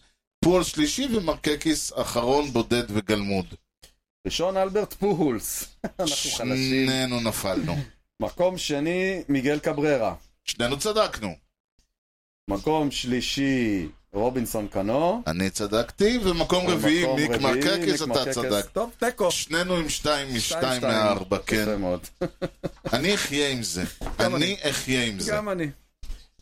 A: פולס שלישי ומרקקיס אחרון, בודד וגלמוד.
B: ראשון אלברט פולס. אנחנו חלשים.
A: שנינו נפלנו.
B: מקום שני, מיגל קבררה.
A: שנינו צדקנו.
B: מקום שלישי, רובינסון קנו.
A: אני צדקתי, ומקום רביעי,
B: מקום
A: מיק
B: רביעי,
A: מרקקיס,
B: מיק
A: אתה
B: מרקקיס.
A: צדקת.
B: טוב, תיקו.
A: שנינו עם שתיים משתיים
B: שתיים,
A: מארבע, כן.
B: יפה מאוד.
A: אני אחיה עם זה.
B: גם
A: אני אחיה עם זה.
B: גם אני.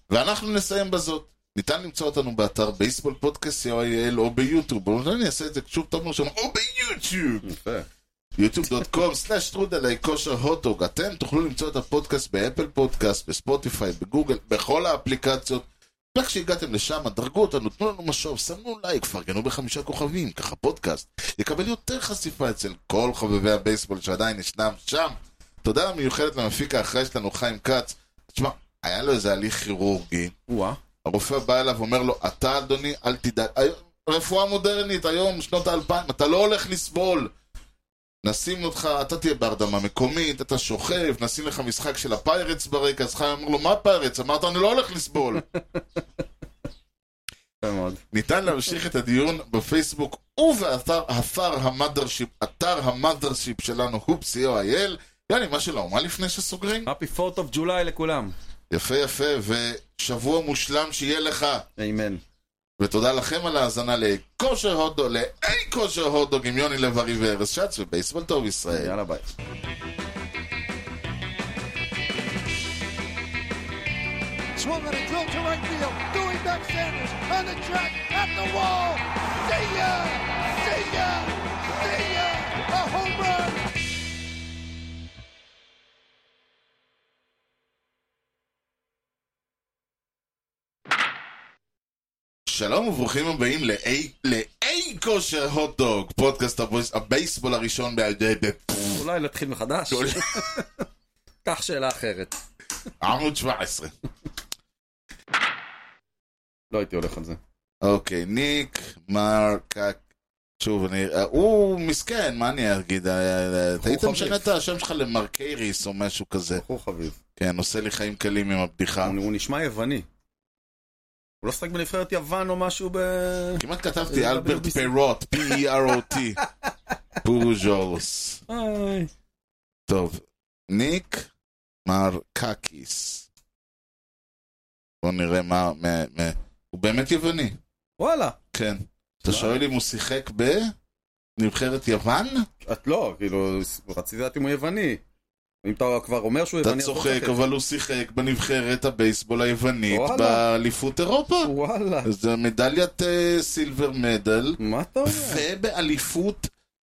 A: ואנחנו נסיים בזאת. ניתן למצוא אותנו באתר בייסבול פודקאסט co.il או ביוטיוב. בואו נראה, אני אעשה את זה שוב תאמרו שם, או ביוטיוב!
B: יפה.
A: yוטיוב.com/טרודלי כושר הוטוג. אתם תוכלו למצוא את הפודקאסט באפל פודקאסט, בספוטיפיי, בגוגל, בכל האפליקציות. ואיך שהגעתם לשם, דרגו אותנו, תנו לנו משוב, שמנו לייק, פרגנו בחמישה כוכבים, ככה פודקאסט יקבל יותר חשיפה אצל כל חובבי הבייסבול שעדיין ישנם שם. תודה מיוחדת למפיק האחראי שלנו, חיים כץ. תשמע, היה לו איזה הליך כירורגי,
B: וואה.
A: הרופא בא אליו ואומר לו, אתה אדוני, אל תדאג. היום- רפואה מודרנית, היום, שנות האלפיים, אתה לא הולך לסבול. נשים אותך, אתה תהיה בהרדמה מקומית, אתה שוכב, נשים לך משחק של הפיירטס ברקע, אז חיים אמר לו, מה פיירטס? אמרת, אני לא הולך לסבול.
B: יפה מאוד.
A: ניתן להמשיך את הדיון בפייסבוק ובאתר אתר המאדרשיפ, אתר המאדרשיפ שלנו, הופ, co.il. יאללה, מה של האומה לפני שסוגרים?
B: Happy 4th of July לכולם.
A: יפה, יפה, ושבוע מושלם שיהיה לך.
B: אמן.
A: ותודה לכם על ההאזנה לכושר הודו, לאי כושר הודו, עם יוני לב-ארי וארז שץ ובייסבול טוב ישראל.
B: יאללה ביי.
C: Swung on a drill to right field. Doing back Sanders on the track at the wall. See ya! See ya! See ya! A home run!
A: שלום וברוכים הבאים לאי- לאי כושר הוטדוג, פודקאסט הבויס- הבייסבול הראשון בעדי...
B: Mm. אולי נתחיל מחדש? (laughs) קח שאלה אחרת.
A: עמוד 17.
B: לא הייתי הולך על זה.
A: אוקיי, ניק מרקק. שוב, אני... אה, הוא מסכן, מה אני אגיד? אה, אה, אה, היית
B: חביב.
A: משנה את השם שלך למרקייריס או משהו כזה.
B: בחור חביב.
A: כן, עושה לי חיים קלים עם הבדיחה.
B: הוא הוא נשמע יווני. הוא לא שחק בנבחרת יוון או משהו ב...
A: כמעט כתבתי אלברט
B: WBC.
A: פירוט, E P-E-R-O-T. פורוז'ולוס.
B: איי.
A: טוב, ניק מרקקיס. בוא נראה מה... מה- מה- הוא באמת יווני,
B: וואלה.
A: כן. אתה שואל אם הוא שיחק בנבחרת יוון?
B: את לא, כאילו, רציתי לדעת אם הוא יווני. אם אתה כבר אומר שהוא
A: אתה
B: יווני... אז לא
A: צוחק,
B: צוחק.
A: אבל הוא שיחק בנבחרת הבייסבול היוונית
B: וואלה.
A: באליפות אירופה.
B: וואלה.
A: זה מדליית אה, סילבר מדל,
B: מה אתה אומר?
A: ובאליפות,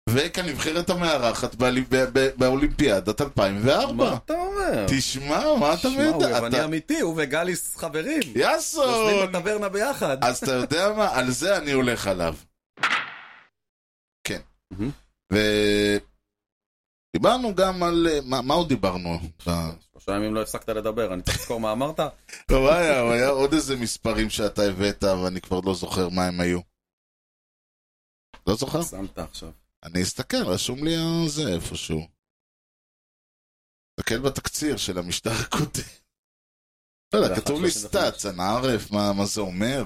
A: וכנבחרת המארחת באלי- ב- ב- באולימפיאדת
B: מה
A: 2004.
B: אתה אומר?
A: תשמע, מה אתה
B: תשמע, הוא
A: מדע?
B: יווני אמ-
A: אתה-
B: אמיתי, הוא וגליס חברים.
A: יאסון!
B: יושבים בטברנה ביחד.
A: אז אתה יודע מה? על זה אני הולך עליו. כן.
B: מהמם.
A: ודיברנו גם על... אה, מה מה עוד דיברנו? ב-
B: שלושה ימים לא הפסקת לדבר, אני צריך לזכור מה אמרת.
A: טוב, היה, הוא היה עוד איזה מספרים שאתה הבאת, ואני כבר לא זוכר מה הם היו. לא זוכר?
B: שמת עכשיו.
A: אני אסתכל, רשום לי זה איפשהו. תסתכל בתקציר של המשטר הקודם. לא יודע, כתוב לי
B: 31.
A: סטאצ, אנא ערף, מה מה זה אומר?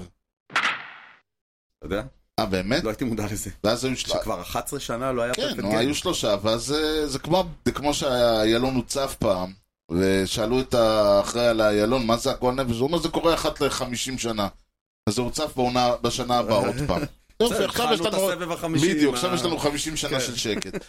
B: אתה יודע?
A: אה, באמת?
B: לא הייתי מודע לזה.
A: ואז היו שלושה...
B: שכבר 11 שנה לא היה
A: אה. כן,
B: פרפקט
A: נו,
B: גיים.
A: היו שלושה, ואז אה, זה, זה כמו, זה כמו שהיילון הוצף פעם, ושאלו את האחראי על היילון, מה זה הגועל נפש? הוא אומר, זה קורה אחת לחמישים שנה. אז זה הוצף בעונה, (laughs) בשנה הבאה עוד פעם. יופי,
B: בסדר,
A: עכשיו יש
B: התחלנו את
A: לנו...
B: הסבב החמישי.
A: בדיוק,
B: עם
A: עכשיו
B: ה-
A: יש לנו 50 שנה
B: כן.
A: של שקט.